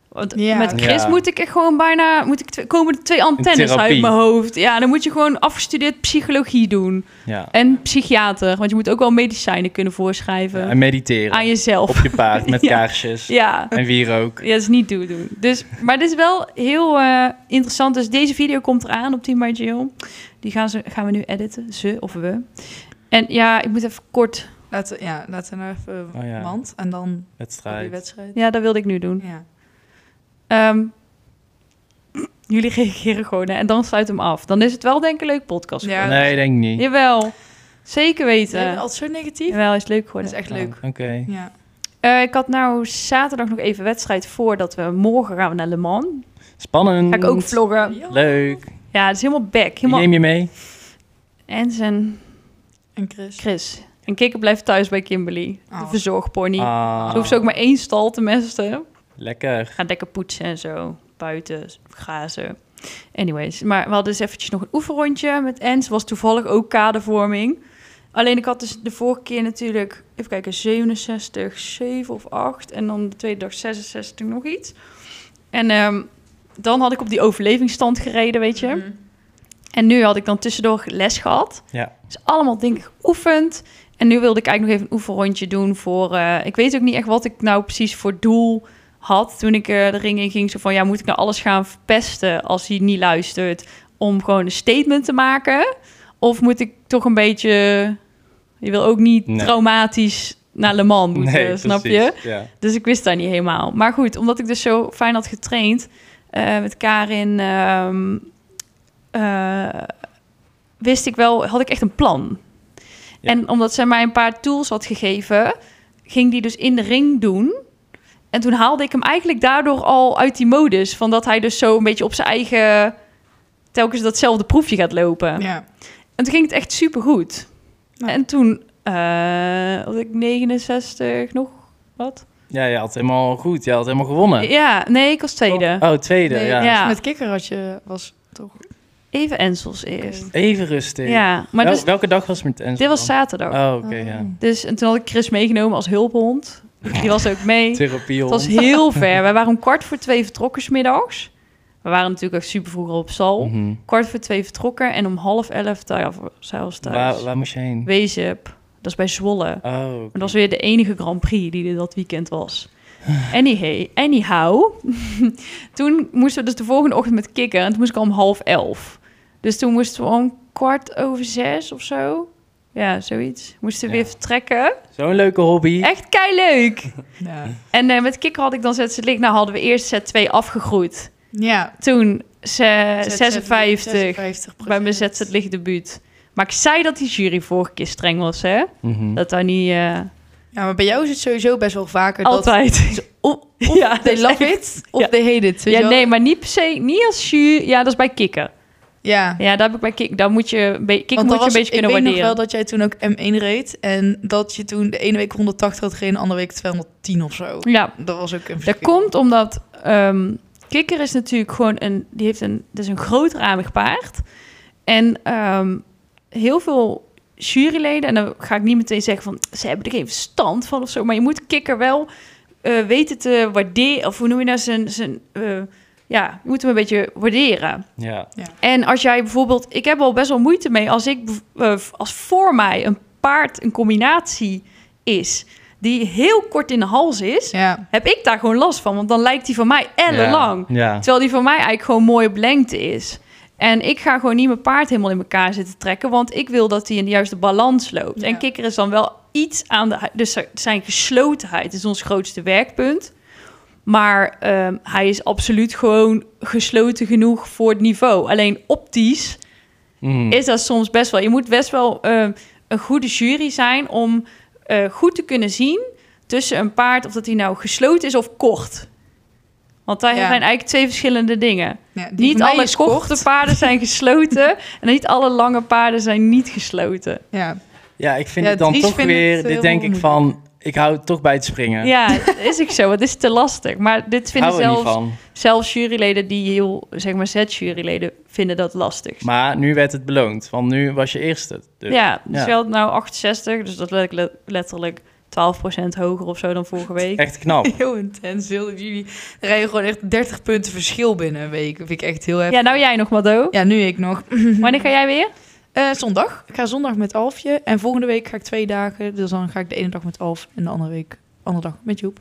[SPEAKER 2] Want
[SPEAKER 1] Ja.
[SPEAKER 2] met Chris
[SPEAKER 3] Ja.
[SPEAKER 2] moet ik echt gewoon bijna... Moet ik twee, komen er twee antennes
[SPEAKER 3] therapie.
[SPEAKER 2] uit mijn hoofd. Ja, dan moet je gewoon afgestudeerd psychologie doen.
[SPEAKER 3] Ja.
[SPEAKER 2] En psychiater. Want je moet ook wel medicijnen kunnen voorschrijven.
[SPEAKER 3] En mediteren.
[SPEAKER 2] aan jezelf.
[SPEAKER 3] Op je paard, met
[SPEAKER 2] Ja.
[SPEAKER 3] kaarsjes.
[SPEAKER 2] Ja.
[SPEAKER 3] En wierook.
[SPEAKER 2] Ja, dat is niet doen. Dus, maar dit is wel heel eh, interessant. Dus deze video komt eraan op Team by Jill. Die gaan, ze, gaan we nu editen. Ze of we. En ja, ik moet even kort...
[SPEAKER 1] Laten, ja, laten we nou even
[SPEAKER 3] Oh ja.
[SPEAKER 1] mand en dan op die
[SPEAKER 3] Wedstrijd.
[SPEAKER 1] wedstrijd.
[SPEAKER 2] Ja, dat wilde ik nu doen.
[SPEAKER 1] Ja.
[SPEAKER 2] Ehm, jullie reageren gewoon hè, en dan sluit hem af. Dan is het wel denk ik een leuk podcast.
[SPEAKER 1] Ja.
[SPEAKER 2] geworden.
[SPEAKER 3] Nee, denk ik niet.
[SPEAKER 2] Jawel, zeker
[SPEAKER 1] Zijn
[SPEAKER 2] weten.
[SPEAKER 1] we altijd zo negatief?
[SPEAKER 2] Jawel, is leuk
[SPEAKER 1] Dat
[SPEAKER 2] geworden.
[SPEAKER 1] is echt
[SPEAKER 3] Ja,
[SPEAKER 1] leuk.
[SPEAKER 3] Oh, Oké.
[SPEAKER 1] Ja.
[SPEAKER 2] Eh, ik had nou zaterdag nog even wedstrijd voordat we morgen gaan we naar Le Mans.
[SPEAKER 3] Spannend.
[SPEAKER 2] Ga ik
[SPEAKER 1] Mm.
[SPEAKER 2] ook vloggen.
[SPEAKER 3] Leuk.
[SPEAKER 2] Ja, het is helemaal back.
[SPEAKER 3] Wie
[SPEAKER 2] Helemaal...
[SPEAKER 3] neem je mee?
[SPEAKER 2] En zijn
[SPEAKER 1] En Chris.
[SPEAKER 2] Chris. En Kikker blijft thuis bij Kimberly, de
[SPEAKER 1] Oh.
[SPEAKER 2] verzorgpony.
[SPEAKER 3] Ah,
[SPEAKER 2] Ze hoeft ze ook maar één stal te mesten.
[SPEAKER 3] Lekker.
[SPEAKER 2] Gaat lekker poetsen en zo. Buiten, grazen. Anyways, maar we hadden dus eventjes nog een oefenrondje met Ens. Was toevallig ook kadervorming. Alleen ik had dus de vorige keer natuurlijk, even kijken, 67, 7 of 8. En dan de tweede dag 66 nog iets. En ehm, dan had ik op die overlevingsstand gereden, weet je.
[SPEAKER 1] Mhm.
[SPEAKER 2] En nu had ik dan tussendoor les gehad.
[SPEAKER 3] Ja.
[SPEAKER 2] Dus allemaal denk ik geoefend. En nu wilde ik eigenlijk nog even een oefenrondje doen voor... eh, ik weet ook niet echt wat ik nou precies voor doel had toen ik eh, de ring in ging. Zo van, ja, moet ik nou alles gaan verpesten als hij niet luistert? Om gewoon een statement te maken? Of moet ik toch een beetje... Je wil ook niet
[SPEAKER 3] Nee.
[SPEAKER 2] traumatisch naar Le Mans moeten, eh, snap je?
[SPEAKER 3] precies. Ja.
[SPEAKER 2] Dus ik wist dat niet helemaal. Maar goed, omdat ik dus zo fijn had getraind eh, met Karin, ehm, eh, wist ik wel, had ik echt een plan.
[SPEAKER 3] Ja.
[SPEAKER 2] En omdat zij mij een paar tools had gegeven, ging die dus in de ring doen. En toen haalde ik hem eigenlijk daardoor al uit die modus. Van dat hij dus zo een beetje op zijn eigen... telkens datzelfde proefje gaat lopen.
[SPEAKER 1] Ja.
[SPEAKER 2] En toen ging het echt supergoed.
[SPEAKER 1] Nou.
[SPEAKER 2] En toen eh, had ik 69 nog wat.
[SPEAKER 3] ja, je had helemaal goed. Je had helemaal gewonnen.
[SPEAKER 2] Ja, nee, ik was tweede.
[SPEAKER 3] Oh, tweede.
[SPEAKER 1] Nee,
[SPEAKER 3] ja.
[SPEAKER 2] ja.
[SPEAKER 1] Met kikker had je was toch.
[SPEAKER 2] Even Ensels eerst.
[SPEAKER 3] Even rustig.
[SPEAKER 2] Ja, maar
[SPEAKER 3] Wel-
[SPEAKER 2] dus,
[SPEAKER 3] welke dag was het met Enzo?
[SPEAKER 2] dit was zaterdag.
[SPEAKER 3] Oh, oké, ja.
[SPEAKER 2] Dus en toen had ik Chris meegenomen als hulphond. Die was ook mee.
[SPEAKER 3] Therapie.
[SPEAKER 2] Het was heel ver. Wij waren om kwart voor twee vertrokken 's middags. We waren natuurlijk echt super vroeg al op sal.
[SPEAKER 3] Mhm.
[SPEAKER 2] Kwart voor twee vertrokken en om half elf thuis, zelfs thuis.
[SPEAKER 3] Waar, waar moest je heen?
[SPEAKER 2] Wezep. Dat is bij Zwolle.
[SPEAKER 3] Oh, oké.
[SPEAKER 2] Maar dat was weer de enige Grand Prix die er dat weekend was. Anyhow, anyhow toen moesten we dus de volgende ochtend met kikken. En toen moest ik al om half elf. Dus toen moesten we om kwart over zes of zo. Ja, zoiets. Moesten we
[SPEAKER 3] Ja.
[SPEAKER 2] weer vertrekken.
[SPEAKER 3] zo'n leuke hobby.
[SPEAKER 2] Echt kei leuk.
[SPEAKER 1] Ja.
[SPEAKER 2] En eh, met kikker had ik dan zet ze Nou hadden we eerst set 2 afgegroeid.
[SPEAKER 3] Hm.
[SPEAKER 1] ja.
[SPEAKER 2] Toen ze,
[SPEAKER 1] Zet-
[SPEAKER 2] 56
[SPEAKER 1] 56
[SPEAKER 2] Eh, bij mijn zet het licht debuut. Maar ik zei dat die jury vorige keer streng was, hè?
[SPEAKER 3] Mhm.
[SPEAKER 2] Dat daar niet eh,
[SPEAKER 1] Ja, maar bij jou is het sowieso best wel vaker dat.
[SPEAKER 2] altijd.
[SPEAKER 1] Of, of
[SPEAKER 2] Ja, dat
[SPEAKER 1] they
[SPEAKER 2] is
[SPEAKER 1] love it, of they hate it. weet je
[SPEAKER 2] Ja,
[SPEAKER 1] wel?
[SPEAKER 2] nee, maar niet per se, niet als jury. Ja, dat is bij kikken.
[SPEAKER 1] Ja.
[SPEAKER 2] Ja, daar heb ik bij kikken. Daar moet je, een be- kikken
[SPEAKER 1] Want
[SPEAKER 2] moet
[SPEAKER 1] dat
[SPEAKER 2] je een
[SPEAKER 1] was-
[SPEAKER 2] beetje
[SPEAKER 1] ik
[SPEAKER 2] kunnen
[SPEAKER 1] weet nog
[SPEAKER 2] waarderen.
[SPEAKER 1] wel dat jij toen ook M1 reed. En dat je toen de ene week 180 had gereden, de andere week 210 of zo.
[SPEAKER 2] Ja,
[SPEAKER 1] Dat was ook een
[SPEAKER 2] dat
[SPEAKER 1] verschil.
[SPEAKER 2] komt omdat ehm, kikker is natuurlijk gewoon een, die heeft een, dat is een grootramig paard. En ehm, heel veel juryleden, en dan ga ik niet meteen zeggen van ze hebben er geen verstand van of zo, maar je moet kikker wel eh, weten te waarderen, of hoe noem je dat, zijn, zijn eh, ja, je moet hem een beetje waarderen.
[SPEAKER 3] Ja.
[SPEAKER 2] En als jij bijvoorbeeld, ik heb al best wel moeite mee als ik bev- eh, als voor mij een paard een combinatie is die heel kort in de hals is,
[SPEAKER 1] Ja.
[SPEAKER 2] heb ik daar gewoon last van, want dan lijkt die van mij ellenlang,
[SPEAKER 3] Ja. ja.
[SPEAKER 2] terwijl die van mij eigenlijk gewoon mooi op lengte is. En ik ga gewoon niet mijn paard helemaal in elkaar zitten trekken, want ik wil dat hij in de juiste balans loopt.
[SPEAKER 1] Ja.
[SPEAKER 2] En kikker is dan wel iets aan de, hu- dus zijn geslotenheid is ons grootste werkpunt. Maar ehm, hij is absoluut gewoon gesloten genoeg voor het niveau. Alleen optisch
[SPEAKER 3] Mhm.
[SPEAKER 2] is dat soms best wel. Je moet best wel eh, een goede jury zijn om eh, goed te kunnen zien tussen een paard of dat hij nou gesloten is of kort. Want daar
[SPEAKER 1] Ja.
[SPEAKER 2] zijn eigenlijk twee verschillende dingen.
[SPEAKER 1] Ja, die
[SPEAKER 2] niet
[SPEAKER 1] van mij
[SPEAKER 2] alle
[SPEAKER 1] is
[SPEAKER 2] korte paarden zijn gesloten en niet alle lange paarden zijn niet gesloten.
[SPEAKER 1] Ja.
[SPEAKER 3] Ja, ik vind
[SPEAKER 1] Ja,
[SPEAKER 3] het dan
[SPEAKER 1] Dries
[SPEAKER 3] toch
[SPEAKER 1] vindt het,
[SPEAKER 3] weer...
[SPEAKER 1] eh,
[SPEAKER 3] Dit denk ik
[SPEAKER 1] moeilijk.
[SPEAKER 3] van... Ik hou toch bij het springen.
[SPEAKER 2] Ja, is ik zo. Het is te lastig. Maar dit
[SPEAKER 3] ik
[SPEAKER 2] vinden
[SPEAKER 3] hou er niet
[SPEAKER 2] zelfs,
[SPEAKER 3] van.
[SPEAKER 2] zelfs juryleden die heel, zeg maar, Z-juryleden vinden dat lastig.
[SPEAKER 3] Maar nu werd het beloond. Want nu was je eerste. Dus.
[SPEAKER 2] ja, dus
[SPEAKER 3] ja.
[SPEAKER 2] je had nou 68, dus dat let- let- letterlijk 12% hoger of zo dan vorige week.
[SPEAKER 3] Echt knap.
[SPEAKER 1] Heel intens. Heel, jullie rijden gewoon echt 30 punten verschil binnen een week. vind ik echt heel heftig.
[SPEAKER 2] Ja, nou jij nog, Maddo.
[SPEAKER 1] Ja, nu ik nog.
[SPEAKER 2] Wanneer ga jij weer?
[SPEAKER 1] Eh, zondag. Ik ga zondag met Alfje. En volgende week ga ik twee dagen. Dus dan ga ik de ene dag met Alf en de andere week, andere dag met Joep.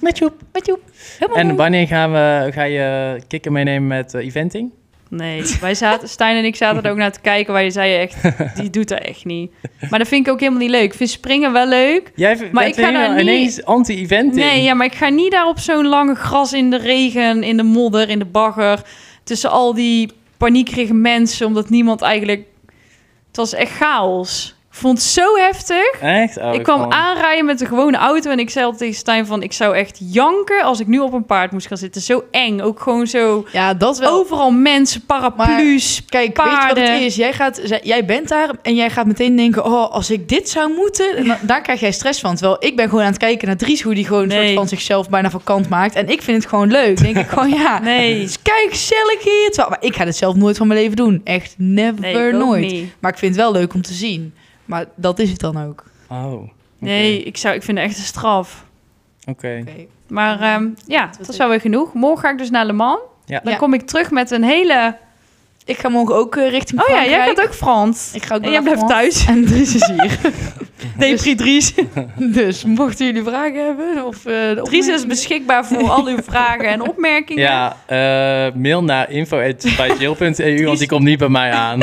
[SPEAKER 3] Met Joep.
[SPEAKER 1] Met Joep. Helemaal
[SPEAKER 3] En
[SPEAKER 1] goed.
[SPEAKER 3] wanneer gaan we, ga je kikken meenemen met eh, eventing?
[SPEAKER 2] Nee, wij zaten, Stijn en ik zaten er ook naar te kijken waar je zei echt, die doet dat echt niet. Maar dat vind ik ook helemaal niet leuk. Ik vind springen wel leuk.
[SPEAKER 3] Jij v-
[SPEAKER 2] Maar
[SPEAKER 3] bent
[SPEAKER 2] ik ga
[SPEAKER 3] helemaal
[SPEAKER 2] daar niet-
[SPEAKER 3] ineens anti-eventing.
[SPEAKER 2] Nee, ja, maar ik ga niet daar op zo'n lange gras in de regen, in de modder, in de bagger. Tussen al die paniekerige mensen, omdat niemand eigenlijk... Het was echt chaos. Vond het zo heftig.
[SPEAKER 3] Echt? Oh,
[SPEAKER 2] ik kwam
[SPEAKER 3] vond-
[SPEAKER 2] aanrijden met een gewone auto en ik zei al tegen Stijn van... ik zou echt janken als ik nu op een paard moest gaan zitten. Zo eng. Ook gewoon zo...
[SPEAKER 1] Ja, dat wel.
[SPEAKER 2] Overal mensen, paraplu's.
[SPEAKER 1] Kijk, weet je wat
[SPEAKER 2] paarden.
[SPEAKER 1] het is? Jij, gaat, zij- jij bent daar en jij gaat meteen denken... oh, als ik dit zou moeten... En dan- daar krijg jij stress van. Terwijl ik ben gewoon aan het kijken naar Dries... hoe die gewoon een
[SPEAKER 2] Nee.
[SPEAKER 1] soort van zichzelf bijna van kant maakt. En ik vind het gewoon leuk. denk ik gewoon, ja...
[SPEAKER 2] Nee.
[SPEAKER 1] Dus kijk, gezellig hier. Terwijl- maar ik ga dit zelf nooit van mijn leven doen. Echt never,
[SPEAKER 2] Nee, ik ook
[SPEAKER 1] nooit.
[SPEAKER 2] niet.
[SPEAKER 1] Maar ik vind het wel leuk om te zien. Maar dat is het dan ook.
[SPEAKER 3] Oh, oké.
[SPEAKER 2] Nee, ik, zou, ik vind het echt een straf.
[SPEAKER 3] Oké.
[SPEAKER 1] Oké.
[SPEAKER 2] Maar ehm, ja, dat is wel weer genoeg. Morgen ga ik dus naar Le Mans.
[SPEAKER 3] Ja.
[SPEAKER 2] Dan
[SPEAKER 1] Ja.
[SPEAKER 2] kom ik terug met een hele...
[SPEAKER 1] Ik ga morgen ook eh, richting
[SPEAKER 2] Oh ja,
[SPEAKER 1] Frankrijk.
[SPEAKER 2] jij gaat ook Frans.
[SPEAKER 1] Ik ga ook
[SPEAKER 2] En
[SPEAKER 1] wel
[SPEAKER 2] jij
[SPEAKER 1] naar
[SPEAKER 2] blijft
[SPEAKER 1] Frans.
[SPEAKER 2] thuis.
[SPEAKER 1] En Dries is hier.
[SPEAKER 2] Depri Dries.
[SPEAKER 1] dus mochten jullie vragen hebben... Of, eh, de
[SPEAKER 2] Dries is
[SPEAKER 1] opmerkingen-
[SPEAKER 2] beschikbaar voor al uw vragen en opmerkingen.
[SPEAKER 3] Ja, eh, mail naar info.bijjill.eu, want die komt niet bij mij aan.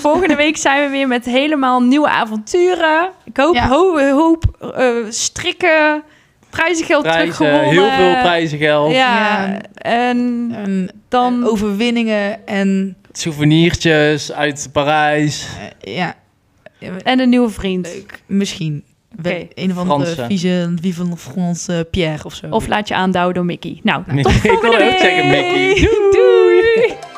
[SPEAKER 2] Volgende week zijn we weer met helemaal nieuwe avonturen. Ik hoop,
[SPEAKER 1] Ja.
[SPEAKER 2] ho- hoop eh, strikken, prijzengeld
[SPEAKER 3] Prijzen,
[SPEAKER 2] teruggewonnen.
[SPEAKER 3] heel veel prijzengeld.
[SPEAKER 2] Ja,
[SPEAKER 1] Ja.
[SPEAKER 2] en
[SPEAKER 1] En eh,
[SPEAKER 2] dan...
[SPEAKER 1] overwinningen en
[SPEAKER 3] Souveniertjes uit Parijs.
[SPEAKER 1] eh, ja,
[SPEAKER 2] En een nieuwe vriend.
[SPEAKER 1] misschien. We- Een van de
[SPEAKER 3] Fransen.
[SPEAKER 1] vieze Vive la France eh, Pierre of zo.
[SPEAKER 2] Of laat je aanduwen door Mickey. Nou,
[SPEAKER 3] ik
[SPEAKER 2] tot
[SPEAKER 3] wil
[SPEAKER 2] volgende
[SPEAKER 3] ook
[SPEAKER 2] week.
[SPEAKER 3] zeggen, Mickey.
[SPEAKER 2] Doei.